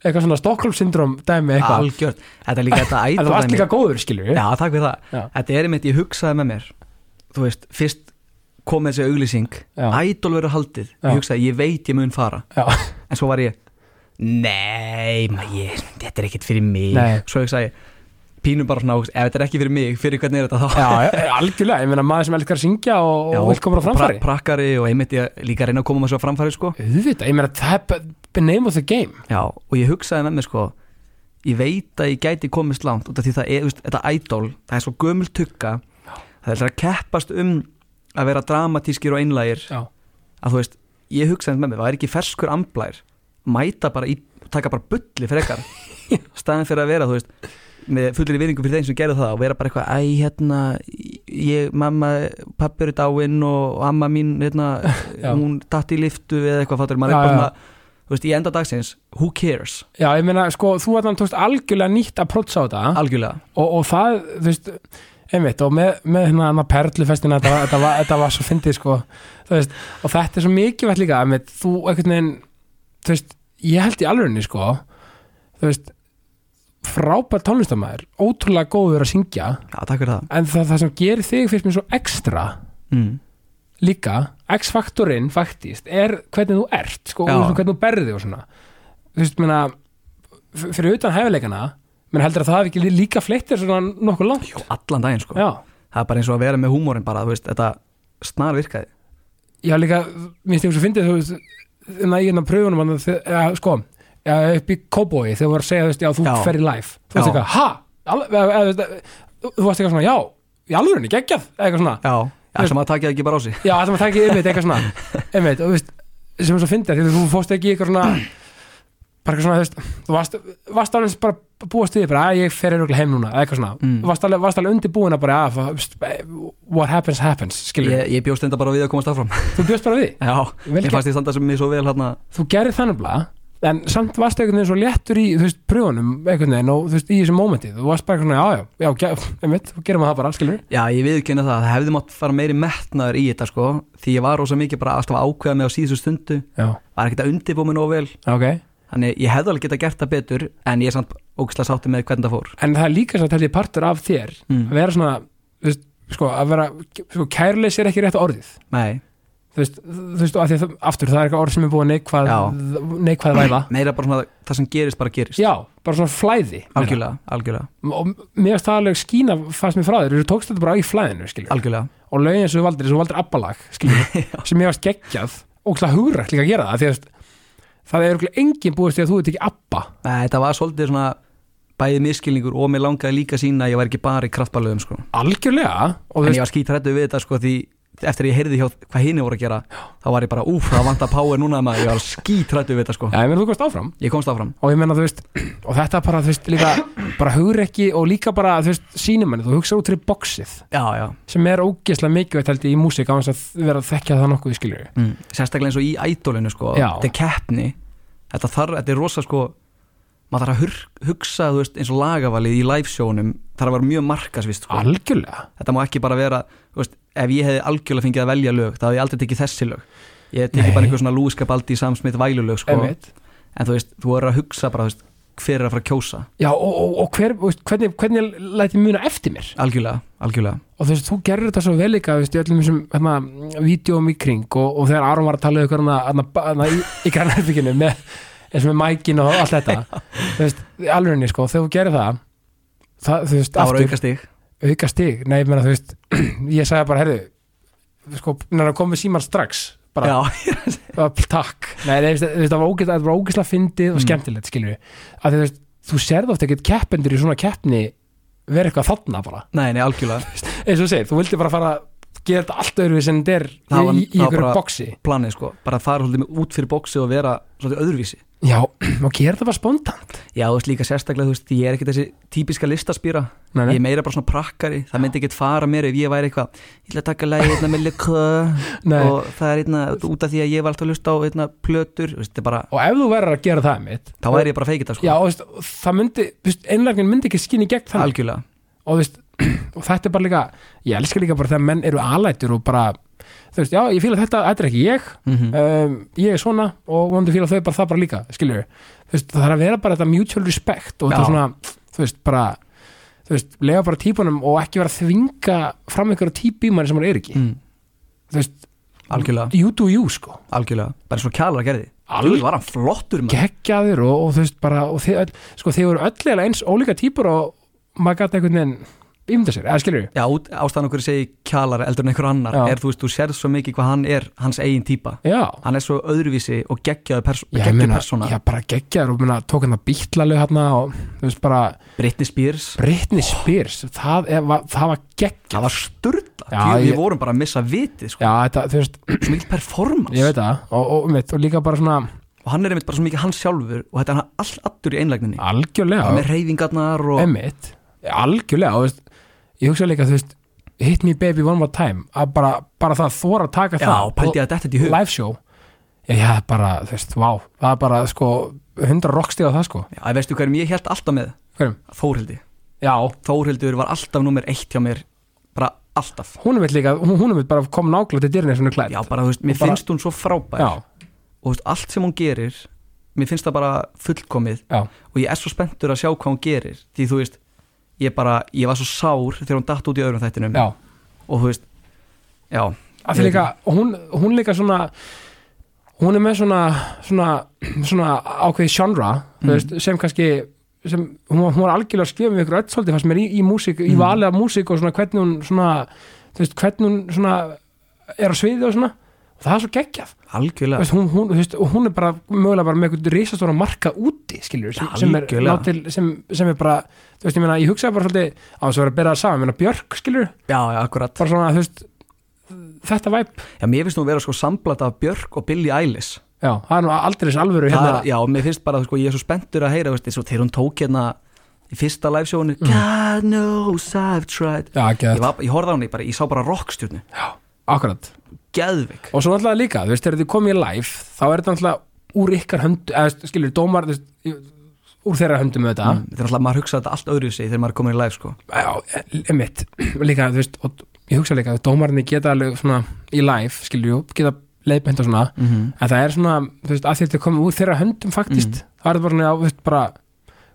eitthvað svona Stockholm syndrom dæmi eitthvað,
algjörð þetta er líka þetta
en
ædol
þú varst
dæmi.
líka góður skilur við,
Já, takk fyrir það
Já.
Þetta er einmitt, ég hugsaði með mér Þú veist, fyrst kom þessi auglýsing
Já.
Ædol verður haldið
Já.
Ég hugsaði, ég veit ég mun fara
já,
En svo var ég, nei, ma, ég, þetta er ekkert fyrir mig
Nei.
Svo hugsaði, ég, pínum bara svona Ef þetta er ekki fyrir mig, fyrir hvernig er þetta þá
já, já, e, algjörlega ég meina maður sem elskar að syngja og, og vil koma á framfæri
pra, Prakkari og einmitt ég líka reyna að koma með svo framfæri sko.
auðvitað, ég meina það er b- name of the game
Já, og ég hugsaði með mér sko ég veit að ég gæti komist langt út af því það er, þú veist, þetta idol það er svo gömul tukka það er að keppast um að vera dramatískir og einlægir
Já.
að þú veist, ég hugsa eins með mig það er ekki ferskur amblær mæta bara í, taka bara bulli frekar staðan fyrir að vera, þú veist með fullir viðingum fyrir þeim sem gerðu það og vera bara eitthvað, æ, hérna ég, mamma, pappi eru dáinn og amma mín, hérna
Já.
hún datt í liftu eða eitthvað fattur maður
Já,
er bara
já.
svona, þú veist, í enda dagsins who cares,
Já, ég meina, sko, þú allan tókst algjörlega nýtt að prótsa á þetta
algjörlega
og, og það, þú veist einmitt, og með, með hérna hana perlufestina þetta, var- þetta, var, þetta var svo fyndið sko þú veist, og þetta er svo mikið vett líka einmitt, þú einhvern veginn þú veist, ég held í alvegni sko þú veist frábært tónlistamæður, ótrúlega góður að syngja
Já, takk fyrir það
en það, það sem gerir þig fyrst mér svo ekstra
mm.
líka, x-faktorinn faktist er hvernig þú ert sko,
Já.
og hvernig þú berði og svona þú veist, meina f- fyrir utan hæfileikana, menn heldur að það hafi ekki líka fleittir svona nokkuð langt
Jó, allan daginn sko
Já,
Það er bara eins og að vera með húmórin bara, þú veist, þetta snar virkaði
já líka, minnst ég svo fyndið þú veist, en að ég hérna pröfunum hann, ja, sko, ja, upp í kóbói þegar þú var að segja, þú veist, já, þú
Já.
fer í life þú veist
Já.
eitthvað, ha, al, e, e, þú veist, þú varst eitthvað svona, já, í alvörunni, geggjað eitthvað svona,
Já, það sem að taka það ekki bara á sig
já, það maður takk ég einmitt, eitthvað svona, einmitt, og þú veist sem er svo fyndið, því þú fórst ekki í eitthvað svona bara eitthvað svona, þú veist þú varst, varst alveg bara að búast við því, bara, að ég fer er heim núna, eða eitthvað svona
Mm.
varst, alveg, varst alveg undirbúin að bara, að, what happens happens, skilur,
Ég, ég bjóst enda bara við að komast áfram
þú bjóst bara við því.
Já,
Vel
ég
gert.
fannst ég standa sem mig svo vel hérna
þú gerir þannig blað en samt varst einhvern veginn svo léttur í þú veist, pröfunum einhvern veginn og þú veist, í þessum mómenti þú varst bara eitthvað, já, já, já, ge- einmitt þú gerir maður það bara, skilur
Já, ég viðkynna það, það hefði mátt fara meiri metnaður í þetta sko Því ég var rosa mikið bara alltaf að ákveða mig á síðustu stundu
já,
Var ekkert að undirbúa mig nóg vel
ok
Þannig ég hefði alveg getað gert það betur En ég er samt ógislega sátti með hvernig það fór
en það er líka svo að telja partur af þér að
mm.
vera svona, þú veist, sko að vera, sko, kærleis er ekki rétt orðið
Nei,
þú veist, þú veist, og af því að það, aftur það er eitthvað orð sem er búið að neikvað, neikvað væða
meira bara svona það sem gerist bara gerist
já, bara svona flæði
Algjörlega, algjörlega,
og mér varst það alveg skína fannst mér frá þér, þú tókst þetta bara í flæðinu skilur.
algjörlega
og lögin sem þú valdir, sem þú valdir abbalag skilur, sem ég varst geggjað og slag hugrækt líka að gera það því að þú veist, það er örugglega enginn búist því að þú ert ekki abba
Nei, þetta var svolítið svona bæðið miskilningur og mér langaði líka sína að ég var ekki bara í kraftbalöðum sko.
algjörlega og þú
en ég
veist,
var skítrættu við þetta sko, því eftir að ég heyrði hjá hvað hinni voru að gera þá var ég bara, úf, það vantar power núna maður, ég var skítrættu við þetta sko.
já, ég meina þú komst áfram
ég komst áfram,
og ég meina þú veist, og þetta bara þú veist líka, bara hugrekki og líka bara þú veist, sínumenni, þú hugsa út fyrir boxið
já, já
sem er ógeðslega mikilvægt held ég í músík á hans að vera að þekkja það nokkuð í skilur
mm. sérstaklega eins og í ædolinu sko.
Já.
þetta er keppni þetta, þar, þetta er rosa sko, maður þarf að hur- hugsa þú veist, eins og lagavalið í live sjónum þarf að vera mjög markasvist sko.
algjörlega,
þetta má ekki bara vera þú veist, ef ég hefði algjörlega fengið að velja lög þá hefði ég aldrei tekið þessi lög ég hef tekið
Nei.
bara einhver svona Lewis Capaldi samsmitt vælulög sko.
einmitt
en þú veist, þú er að hugsa bara þú veist, hver er að fara að kjósa
já, og, og, og hver, þú veist, hvernig, hvernig læt ég muna eftir mér
algjörlega, algjörlega,
og þú veist, þú gerir þetta svo vel líka þú veist, í öllum þessum, hérna, vídjóum í kring og, og þegar Aron var að tala um ykkur hana, hana, hana í, í grannherbygginu með eins og með mækin og allt þetta þú veist, alveg henni, sko, þegar þú gerir það það, þú veist,
það var
aftur
auka stig
auka stig, nei, ég meina, þú veist ég sagði bara, herðu, sko næra komið síman strax, bara
já,
bara, takk, nei, nei, þú veist, þú veist, það var ógeð það var ógeðslega fyndið og
Mm.
skemmtilegt, skilur að þú veist, þú serð oft ekkert keppendur í svona keppni vera eitthvað þarna bara
nei, nei, algjörlega
eins og þú segir, þú vildi bara fara að gera þetta allt öðruvísi en þetta er
Það var-
í, í
það var
ykkur
bara-
boxi
planið sko, bara að fara svolítið með- út fyrir bóksi og vera svolítið öðruvísi
já, og gera þetta bara spontant
já, þú veist líka sérstaklega, þú veist, ég er ekki þessi típiska listaspýra
nei,
ég
nei,
er meira bara svona prakkari, það myndi ekki fara mér ef ég væri eitthvað, ég ætla að taka lægi einna með lukka
nei. Og,
og það er einna, út af því að ég var alltaf að hlusta á einna plötur, veist, þetta er bara,
ef þú verður að gera það mitt
þá væri ég bara að feikita sko,
já, og veist, og það myndi, einlægnin myndi ekki skinni gegn þannig
algjörlega
og, þú veist, og þetta er bara líka ég elska líka bara þegar menn eru alætur og bara, þú veist, já, ég fíla þetta þetta er ekki ég,
mm -hmm.
um, ég er svona og vonandi fíla þau bara það bara líka, skilur þú veist, það þarf að vera bara þetta mutual respect og
Já.
þetta svona, þú veist, bara þú veist, lega bara típunum og ekki vera að þvinga fram einhverja típu í manni sem hann er ekki
mm.
þú veist,
algjörlega,
you do you, sko
algjörlega bara svo kjalar gerði,
Alveg.
Jú, var hann flottur maður.
geggjaðir og, og þú veist, bara og þið, öll- sko, þið voru öll eða eins ólíka típur og maður gæti einhvern veginn ímynda sér, eða skilur við
Já, út- ástæðan okkur segi kjalar eldur en einhver annar
Já.
er þú veist, þú sérð svo mikið hvað hann er hans eigin típa,
Já,
hann er svo öðruvísi og geggjaði perso
já ég meina,
persóna
já bara geggjaður og meina, tók hann að bítlalög hérna og þú veist bara
Britney Spears,
Britney Spears, það, er, var, það var geggjað
það var sturla
Já,
Djú,
ég-
við vorum bara að missa vitið sko.
Já, þetta, þú veist,
svo mikið performance
ég veit það og, og, mitt, og líka bara svona
og hann er einmitt bara svo mikið hann sjálfur og þetta er hann all allur í einlægninni
algjörlega
með reyfingarnar og
Emmitt, algjörlega og, þú veist, ég hugsa líka, þú veist Hit me baby one more time að bara, bara það þóra að taka
já,
það
pældi ég að þetta er í hug
live show já, já, bara, þú veist, vá það er bara, sko, 100 rockstíð á það, sko
já, veistu hverjum ég held alltaf með
hverjum,
Þórhildi,
já,
Þórhildur var alltaf nummer eitt hjá mér, bara alltaf
hún er mitt líka hún, hún er mitt bara kom nákvæmlega til dyrna svona klætt
já, bara þú veist, mér
Og bara-
finnst hún svo frábær
já,
og þú veist, allt sem hún gerir mér finnst það bara fullkomið
já,
og ég er svo spenntur að sjá hvað hún gerir því þú veist, ég bara, ég var svo sár þegar hún datt út í öðrum þættinum
já.
og þú veist, já,
Af því
Ég veit
líka, hún, hún líka svona hún er með svona svona, svona ákveði genre
Mm.
þú veist, sem kannski sem, hún, var- hún var algjörlega að skrifa með ykkur öll svolítið fannst mér í, í músík, í
Mhm.
valið af músík og svona hvernig hún svona, þú veist, hvernig hún svona er á sviði og svona og það er svo geggjað
algjörlega
veist, hún, hún, þú veist, og hún er bara mögulega bara með einhvern risastóra marka úti skilur, sem,
Já,
sem, er,
algjörlega.
látil, sem, sem er bara þú veist, ég meina, ég hugsaði bara svolítið á þess að vera að bera það saman, ég meina Björk skilur
já, já, akkurat,
bara svona, þú veist, þetta væp
já, mér finnst hún vera sko samblat af Björk og Billie Eilish
já, það er nú aldrei þess alvöru
það,
hérna
er- já, mér finnst bara, sko, ég er svo spenntur að heyra þú veist, eins og þegar hún tók hérna í fyrsta livesjónu,
Mm.
God knows I've tried
já,
ég,
ekki,
var, ég horfði á henni, bara, ég sá bara rockstjörnu
akkurat
geðvik,
og svo náttúrulega líka, þú veist, þegar þið komið í live þá er þetta náttúrulega úr ykkar höndu eða, þú veist, skilur, dómar, þú veist í- úr þeirra höndum með þetta
mm. þetta er alltaf, maður hugsaði þetta allt öðru sig þegar maður er komin í live, sko
já, emitt líka, þú veist, og ég hugsa líka að dómarinni geta alveg svona í live, skilur jú, geta leiðbænt og svona,
mm Mm. -hmm.
en það er svona, þú veist, að þetta komið úr þeirra höndum faktist, það er þetta bara svona, já, þú veist, bara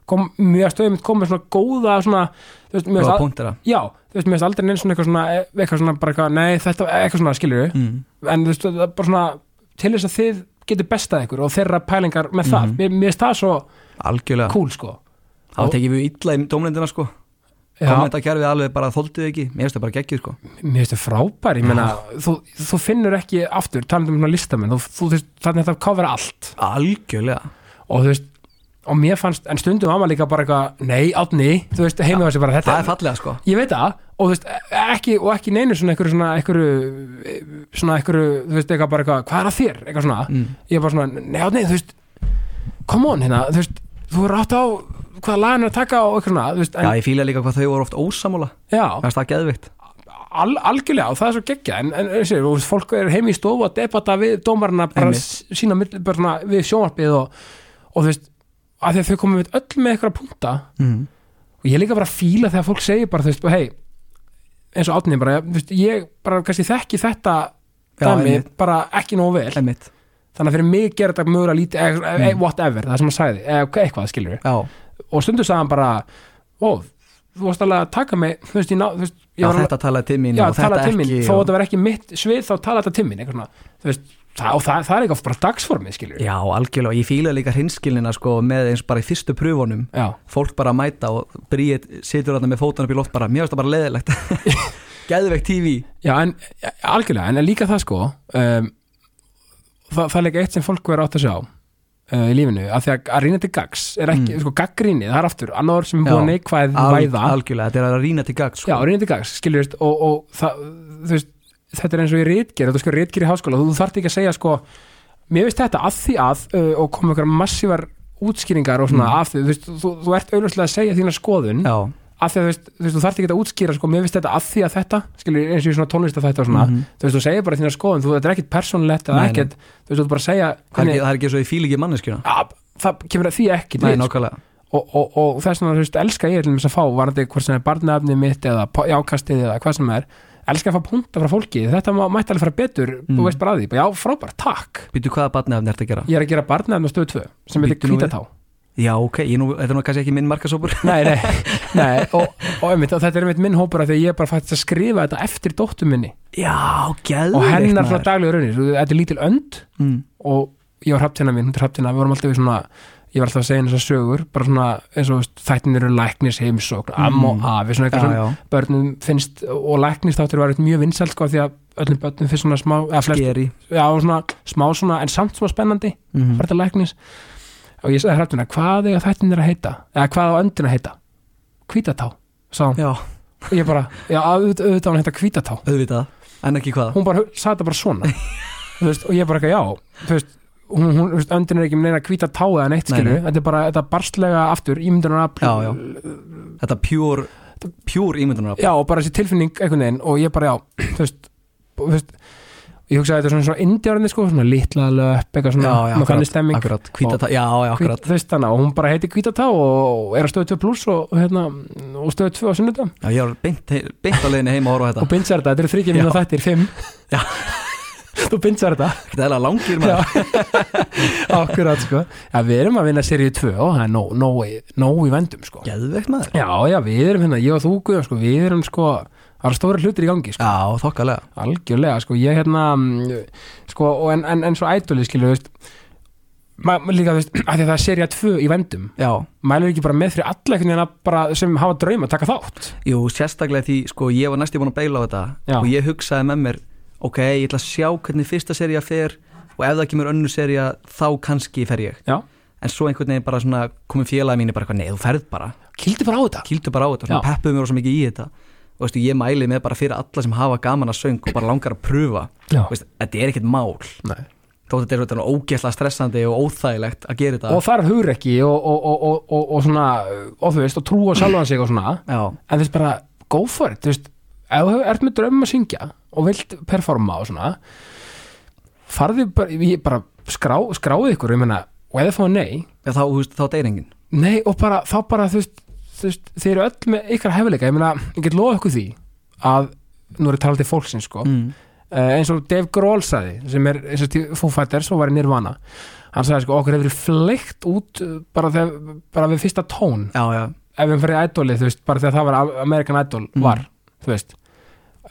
kom, mjög stöðum komið svona góða svona, þú veist, mjög
góða
að,
punktera
já, þú veist, mjög aldrei neins svona eitthvað svona, eitthvað svona, bara eitthvað, nei, þetta eh, eitthvað svona, skilur við,
mm.
en þú veist, það er bara svona til þess að þið getur bestað ykkur og þeirra pælingar með það,
Mhm.
mér, mér finnst það svo
algjörlega,
cool, sko
það tekið við illa í dómlendina, sko
Já,
kommentarkerfið alveg bara þóldið ekki mér finnst það bara geggið, sko
mér finnst það frábær, ég meina þú, þú finnur ekki aftur, talandi um svona listamenn þú, þú veist, þannig að það kofra allt
algjörlega,
og þú veist, og mér fannst en stundum var maður líka bara eitthvað, nei, átni þú veist, heima þessi bara þetta
það er fallega, sko
ég veit það, og þú veist, ekki og ekki neinu svona einhverju svona einhverju, eh, svona einhverju, þú veist, eitthvað bara eitthvað hvað er að þér, eitthvað svona
mm.
ég er bara svona, nei, átni, þú veist come on, hérna, þú veist, þú er átt á hvaða lagin er að taka og eitthvað svona þú veist,
já,
en,
ég fíla líka hvað þau voru oft ósamúla
já,
það er það geðvikt
al, algjörlega og það er svo geggja en, en þessi, og fólk er heim í stofu að debata við dómarna bara
Einmitt.
s- sína milli- bara svona við sjónvarpið og, og þú veist að því að þau komum við öll með eitthvað punkta
mm.
og ég er líka bara að fíla þegar fólk segir bara þú veist, bara, hei, eins og átnið bara, þú veist, ég bara kannski þekki þetta
Já,
dæmi
einmitt.
bara ekki nógu vel
Einmitt.
þannig að fyrir mig gera þetta mögulega lítið eða- eða mm. whatever, það sem hann sagði, eða eitthvað skilur
já,
og stundum sagði hann bara ó, þú varst alveg að taka mig þú veist, ég, ná, þú veist, ég
já
var alveg-
þetta talaði til mín
já,
og
tala
þetta
til mín,
ekki
þó að
og...
þetta var ekki mitt svið þá tala þetta til mín, eitthvað svona þú veist, það, og það, það er eitthvað bara dagsformið, skilur
Já, algjörlega, ég fíla líka hinskilnina sko með eins bara í fyrstu pröfunum
já,
fólk bara að mæta og Bríett situr þarna með fótunum upp í loft bara, mér finnst það bara leðilegt Gæðvegt TV
já en ja, algjörlega, en líka það sko um, það, það er líka eitt sem fólk verður átt að sjá uh, í lífinu, að því að, að rýna til gags er ekki, sko, gaggríni, það er aftur annar sem er búin að
Mm. Já,
neikvæð
Al-
væða
Algjörlega, þetta er að rýna til gagd
já,
sko.
rýna til gags, skilur veist, og, og það, þú veist, þetta er eins og í rítgerð þú sko rítgerð í háskóla, þú þarft ekki að segja sko, mér veist þetta að því að uh, og koma ykkur massívar útskýringar og svona af því, þú veist, þú, þú ert auðvitað að segja þína skoðun,
Mm. já,
af því að þú veist, þú, veist, þú þarft ekki að útskýra, sko, mér veist þetta að því að þetta skilur eins og í svona tónlist að þetta og svona
Mhm.
þú veist, þú segir bara þína skoðun, þú, þetta er ekkit persónlegt eða
Nei, nei.
ekkit, þú veist, þú ert bara að segja
það er
hvernig,
ekki, það er ekki svo ég fíla ekki manneskjuna
að, það kemur að því ekki
Nei, nákvæmlega
og, og, og þess vegna þú veist, elska ég til þess að fá varandi hvort sem er barnaefni mitt eða po- jákastið eða hvað sem er elska að fá punta frá fólki, þetta má, mætti alveg fara betur
Mm.
þú veist bara að því, bara, já frábært, takk
Býtu hvaða batnefni ertu að gera?
ég er að gera barnaefni á stöðu 2 sem heitir
Bíddu nú við.
kvítatá
Já, ok, ég nú, þetta er nú kannski ekki minn markasópur
nei, nei, nei, og, og, einmitt, og þetta er einmitt minn hópur af því að ég er bara fætt að skrifa þetta eftir dóttu minni
Já, gæðvegt
og hennar frá
maður.
daglegu raunin, Þú- þetta er lítil önd
mm.
og ég var hraftina mín, hún er hraftina, við vorum alltaf í svona ég var alltaf að segja þessar sögur bara svona eins og veist, þættin eru læknis heimsókn, amma
Mm.
og afi svona eitthvað
já,
sem
já,
börnum finnst og læknis þáttur var mjög vinsælt sko af því að öllum börnum finnst svona smá, eða flest,
geri
já, svona, smá svona en samt svona spennandi,
mm.
bara til læknis og ég sagði hrættuna, hvað eiga þættin er að heita eða hvað á öndin að heita hvítatá, sagði hún
já,
og ég bara, já, auðvitað auðvitað á hann heita hvítatá
auðvitað, en ekki hvað
hún bara hu- sagði þetta bara svona Þú veist, og ég bara ekki, já þú veist, hún, hún, þú veist, öndin er ekki með neina hvíta táa en eitt
Nei,
skilu,
nei.
þetta er bara þetta barstlega aftur, ímyndunar afl
Já, já. þetta pjúr pjúr ímyndunar
Já, og bara þessi tilfinning einhvern veginn og ég bara, já, þú veist, og, þú veist ég hugsaði þetta er svona, svona indjárinni sko, svona litla löp, eitthvað svona,
Já, já,
með þannig
akkurat,
stemming
akkurat, hvítata, já, já,
Hvít-
akkurat
þú veist þannig, og hún bara heiti Hvítatá og er að stöðu 2 pluss og, og hérna, og stöðu 2 á sunnudam
já, ég var beint, beint á leiðinni heima að horfa á
og
þetta
bindsar þetta, þetta eru þryggjum
Já.
minna þættir, 5
Já.
þú bindsar þetta
Ekkert eðla
Já.
langir maður
Akkurat sko Já, við erum að vinna seríu 2 og það er nóg no, no, í vendum sko Já,
Geðveikt maður
já, við erum hérna, ég og þú Guðjón sko, við erum sko, það eru stóri hlutir í gangi sko,
Já, þokkalega
algjörlega sko, ég hérna mm, sko, og en, en, en svo ædoli skilur, þú veist ma- ma- líka, þú veist, af því að það er seríu 2 í vendum
Já,
mælum við ekki bara með fyrir alla einhvern veginn að bara, sem hafa drauma að taka þátt
jú, sérstaklega því, sko, ég var næstu búin að beila á þetta
Já.
og ég hugsaði með mér ok, ég ætla að sjá hvernig fyrsta seria fer og ef það kemur önnur seria þá kannski fer ég
Já,
en svo einhvern veginn bara svona komið félagi mínu bara eitthvað, nei, þú ferð bara
kildi bara á þetta
kýldu bara á þetta, svona
Já.
peppuðu mér rosa mikið í þetta og veistu, ég mæli með bara fyrir alla sem hafa gaman að söng og bara langar að pröfa
Já,
Veistu, þetta er ekkert mál
nei
þótt þetta er svona ógeðslega stressandi og óþægilegt að gera þetta
og þarf hugur ekki og, og, og, og, og, og svona, og þú veist, og trúa sjálfan sig og svona
Já,
en þú veist bara, go for it þú veist, ef þú ert með draumum að syngja og vilt performa og svona farðu bara, ég bara skrá, skráðu ykkur, ég meina og ef þið fá nei,
Já, þá, þú veist, þá deyr enginn
nei og bara, þá bara þú veist, þú veist, þið eru öll með ykkar hefileika, ég meina, ég get lofa ykkur því að, nú er ég talað til fólksins sko,
mm.
uh, eins og Dave Grohl saði, sem er eins og til Foo Fighters og var í Nirvana, hann sagði sko okkur hefur verið fleikt út uh, bara, þegar, bara við fyrsta tón
Já, já,
ef við fyrir ædólið, þú veist, bara þegar það var American Idol
Mm.
var, þú veist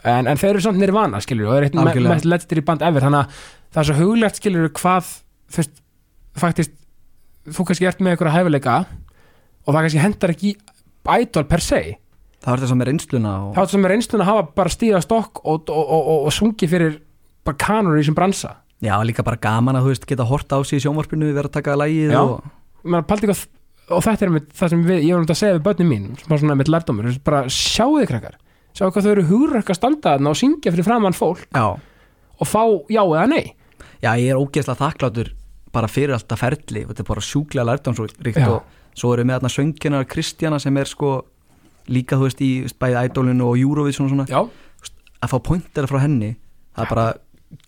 en, en þeir eru samt nirvana, skilur og er eitt me-
Algjörlega.
mest lettir í band ever þannig að það er svo huglegt, skilur hvað, þú veist, faktist þú kannski ert með einhverja hæfileika og það kannski hendar ekki í idol per se,
það var þetta sem er reynsluna og...
þá er sem er einslun að hafa bara stíða stokk og, og, og, og, og sungi fyrir bara kanur í sem bransa
Já, líka bara gaman að þú veist geta hort á sig í sjónvarpinu vera að taka lægið
Já.
og...
Man, paldi, hvað, og þetta er með, það sem við, ég var um þetta að segja við börnum mín, smá svona með lærdómur þú veist, bara sjáu þið krakkar, sjáu hvað þau eru hugrakk að standa þarna og syngja fyrir framann fólk
Já.
og fá já eða nei
já, ég er ógeðslega þakklátur bara fyrir alltaf ferli og þetta er bara sjúklega lærtámsríkt
Já.
og svo eru með þarna sönginar Kristjana sem er sko líka þú veist í þú veist, bæði ædólinu og Eurovision og svona
já.
að fá pointera frá henni það er bara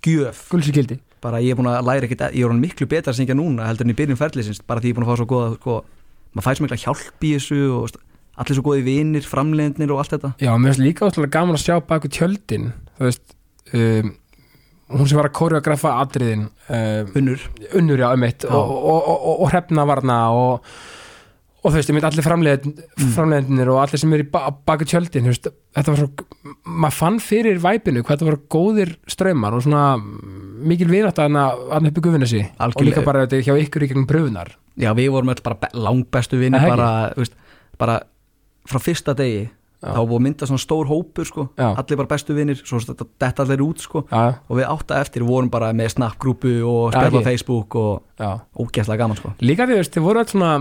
gjöf
gulsi gildi
bara ég er búin að læra ekkit ég er hann miklu betra að syngja núna heldur en í byrjun ferðlisins bara því ég er búin að fá svo góða sko, maður fær svo mikla hjálp í þessu og veist, allir svo góði vinir, framleiðnir og allt þetta
já, mér finnst líka ótrúlega gaman að sjá baku tjöldin þú veist um, hún sem var að koreografa atriðin um,
unnur,
unnur já, um eitt
Já.
og, og, og, og, og hrefna varna og, og þú veist, ég mynd allir framleiðin, framleiðinir og allir sem eru í ba baku tjöldin þú veist, þetta var svo, maður fann fyrir væpinu hvað þetta var góðir strömmar og svona mm, mikil vinátt að hann uppi gufinu sí og
Algjörlega.
líka bara þetta hjá ykkur í gegn pröfunar
já við vorum öll bara be- langbestu vinir
Er það ekki?
bara, þú veist, bara frá fyrsta degi
Já.
þá voru myndað svona stór hópur sko,
Já.
allir bara bestu vinir svo þetta, þetta allir út sko
já,
og við átta eftir vorum bara með snapgrúpu
Já,
og
ekki.
spjalla á Facebook og
já
ógeðslega gaman sko
Líka því, þú veist, þið voru allt svona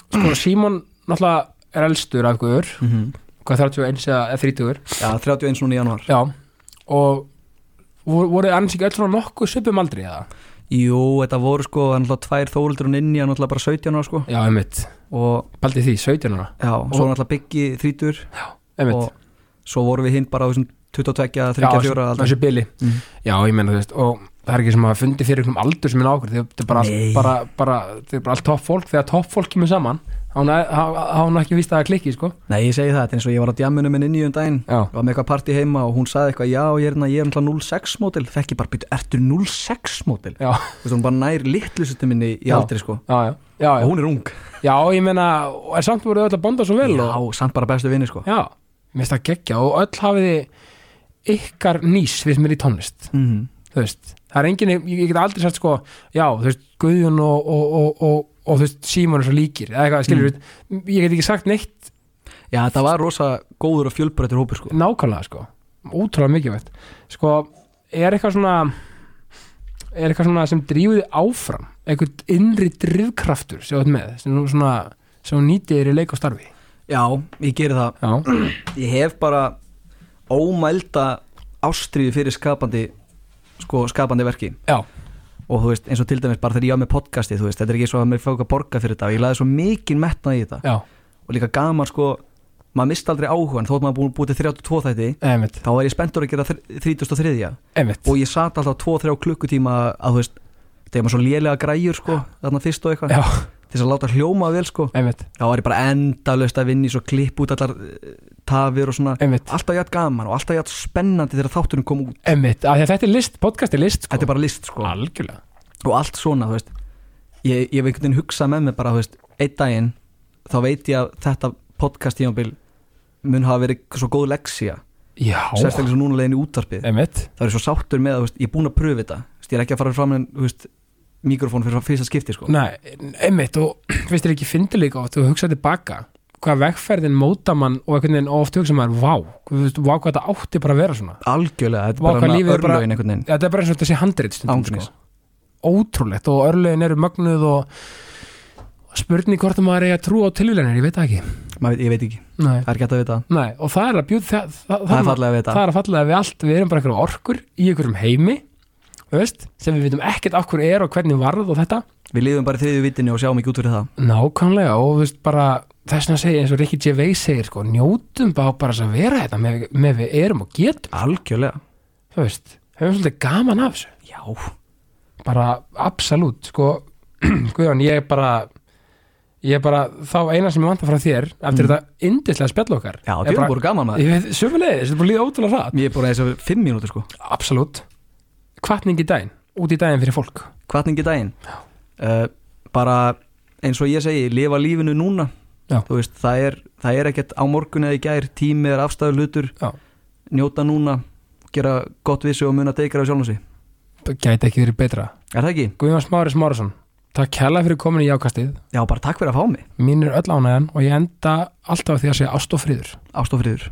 sko, Símon náttúrulega er elstur af guður,
mm
hvað 31 eða eða 30
já, 31 núna í januar
já, og voru, voru annars ekki öll svona nokkuð söpum aldrei eða?
Jú, þetta voru sko náttúrulega tvær Þórildur og Ninja náttúrulega bara 17 ára sko
Já, einmitt,
og
baldið því, 17 ára
já, og svo náttúrulega Biggi 30
einmitt,
og svo voru við hinn bara á þessum 22, 34
já,
aldrei
þessu bili
Mhm.
Já, ég meina, þú veist, og það er ekki sem að fundi fyrir einhverjum aldur sem er nákvæm þetta er bara, allt-
Nei.
bara, bara, þetta er bara allt topp fólk þegar topp fólk kemur saman þá hann ekki víst að það klikki, sko
Nei, ég segi það, þetta er eins og ég var á djamminu með Ninja um daginn
Já,
var með eitthvað partí heima og hún saði eitthvað já, ég er, hérna- ég er náttúrulega 06 mótil fekk ég bara býtu, ertu 06 mótil
já,
þú veist, hún bara nær litlusutum minni í
Já.
aldri sko
já, já, já,
og
já.
hún er ung
já ég meina, er samt voru öll að bonda svo vel og,
já, samt bara bestu vinni sko
Já, mér finnst það geggja og öll hafiði ykkar nýs við sem er í tónlist
Mhm.
þú veist, það er engin, ég, ég get aldrei sagt sko, já, þú veist, Guðjón og, og, og, og, og þú veist, Símon er svo líkir eða eitthvað, skilur við, ég get ekki sagt neitt
Já, það var rosa góður og fjölbreyttur hópur sko
nákvæmlega, sko, útrúlega mikilvægt sko, er eitthvað svona er eitthvað svona sem drífið þig áfram, eitthvað innri drifkraftur sem þú ert með, sem þú svona sem þú nýtið þér í leik og starfi
Já, ég geri það
já,
Ég hef bara ómælda ástriði fyrir skapandi sko, skapandi verki
já,
og þú veist, eins og til dæmis bara þegar ég á með podcasti þú veist, þetta er ekki svo að mér fá ekki að borga fyrir þetta og ég laði svo mikinn metnað í þetta
já,
og líka gaman sko, maður mista aldrei áhugan þótt maður búin búið til 32 þætti
einmitt,
þá var ég spenntur að gera þr- 33
einmitt
og ég sat alltaf 2-3 klukkutíma að þú veist, þegar maður svo lélega græjur sko, þarna fyrst og eitthvað
já,
til þess að láta hljóma vel sko
einmitt,
þá var ég bara endalaust að vinna í svo klipp út allar eh, tafir og svona
einmitt
alltaf jætt gaman og alltaf jætt spennandi þegar þátturinn kom út
einmitt, af því að þetta er list, podcast er list sko.
þetta er bara list sko
algjörlega
og allt svona þú veist ég, ég hef einhvern veginn hugsað með mig bara þú veist einn daginn þá veit ég að þetta podcast tímabil mun hafa verið svo góð leksía
já,
sérstaklega svo núna leiðin í útarpið
einmitt,
það er ég svo sáttur með að þú veist, ég er búin að pröfu þetta Þú veist, ég er ekki að fara fram en þú veist, mikrofón fyrir fyrsta skipti sko
Nei, einmitt og finnst þér ekki fyndi líka oft og hugsa tilbaka hvað vegferðin móta mann og einhvern veginn oft hugsa maður, vá, þú veist, vá hvað þetta átti bara að vera svona
algjörlega, þetta
Vá,
er
hvað
bara
lífið
hana
er bara-
örlögin einhvern veginn
þetta er bara eins og þetta sé handrið stundum
Ángríns.
sko. ótrúlegt og örlegin eru mögnuð og og spurning hvort að maður eigi að trúa á tilvílanir, ég veit það ekki
Maður veit, ég veit ekki,
Nei.
það er ekki hægt að vita
Nei, og það er að bjúð það, það,
það er fallega að vita
það er að fallega við allt, við erum bara einhverjum orkur í einhverjum heimi þú veist, sem við vitum ekkert af hverju er og hvernig varð og þetta
við lifum bara í þriðju vitinu og sjáum ekki út fyrir það
Nákvæmlega og þú veist bara þess að segja eins og Ricky Gervais segir sko, njótum bara bara þess að vera þetta með, með við erum og getum,
algjörlega,
þú veist höfum svolítið gaman af þessu,
já,
bara absolutt sko, Guðjón, ég bara ég bara, þá eina sem ég vanta frá þér eftir þetta yndislega spjall okkar
já,
er
þetta er
bara,
bara gaman maður
ég veit, sömulegis, þetta er búin að líða ótrúlega hratt
ég er bara þess að fimm mínútur sko
absolutt, hvatning í daginn út í daginn fyrir fólk,
hvatningi daginn uh, bara eins og ég segi lifa lífinu núna
Já.
Þú veist, það, er, það er ekkert á morgun eða í gær tími er afstæður hlutur
Já.
njóta núna, gera gott vissu og muna deikra á sjálfum sig
það gæti ekki verið betra
er það ekki?
Guðjón Smáris Smárasson, takk hella fyrir komin í jákastið
Já, bara takk fyrir að fá mig
mín er öll ánæðan og ég enda alltaf á því að segja ást og friður
ástofriður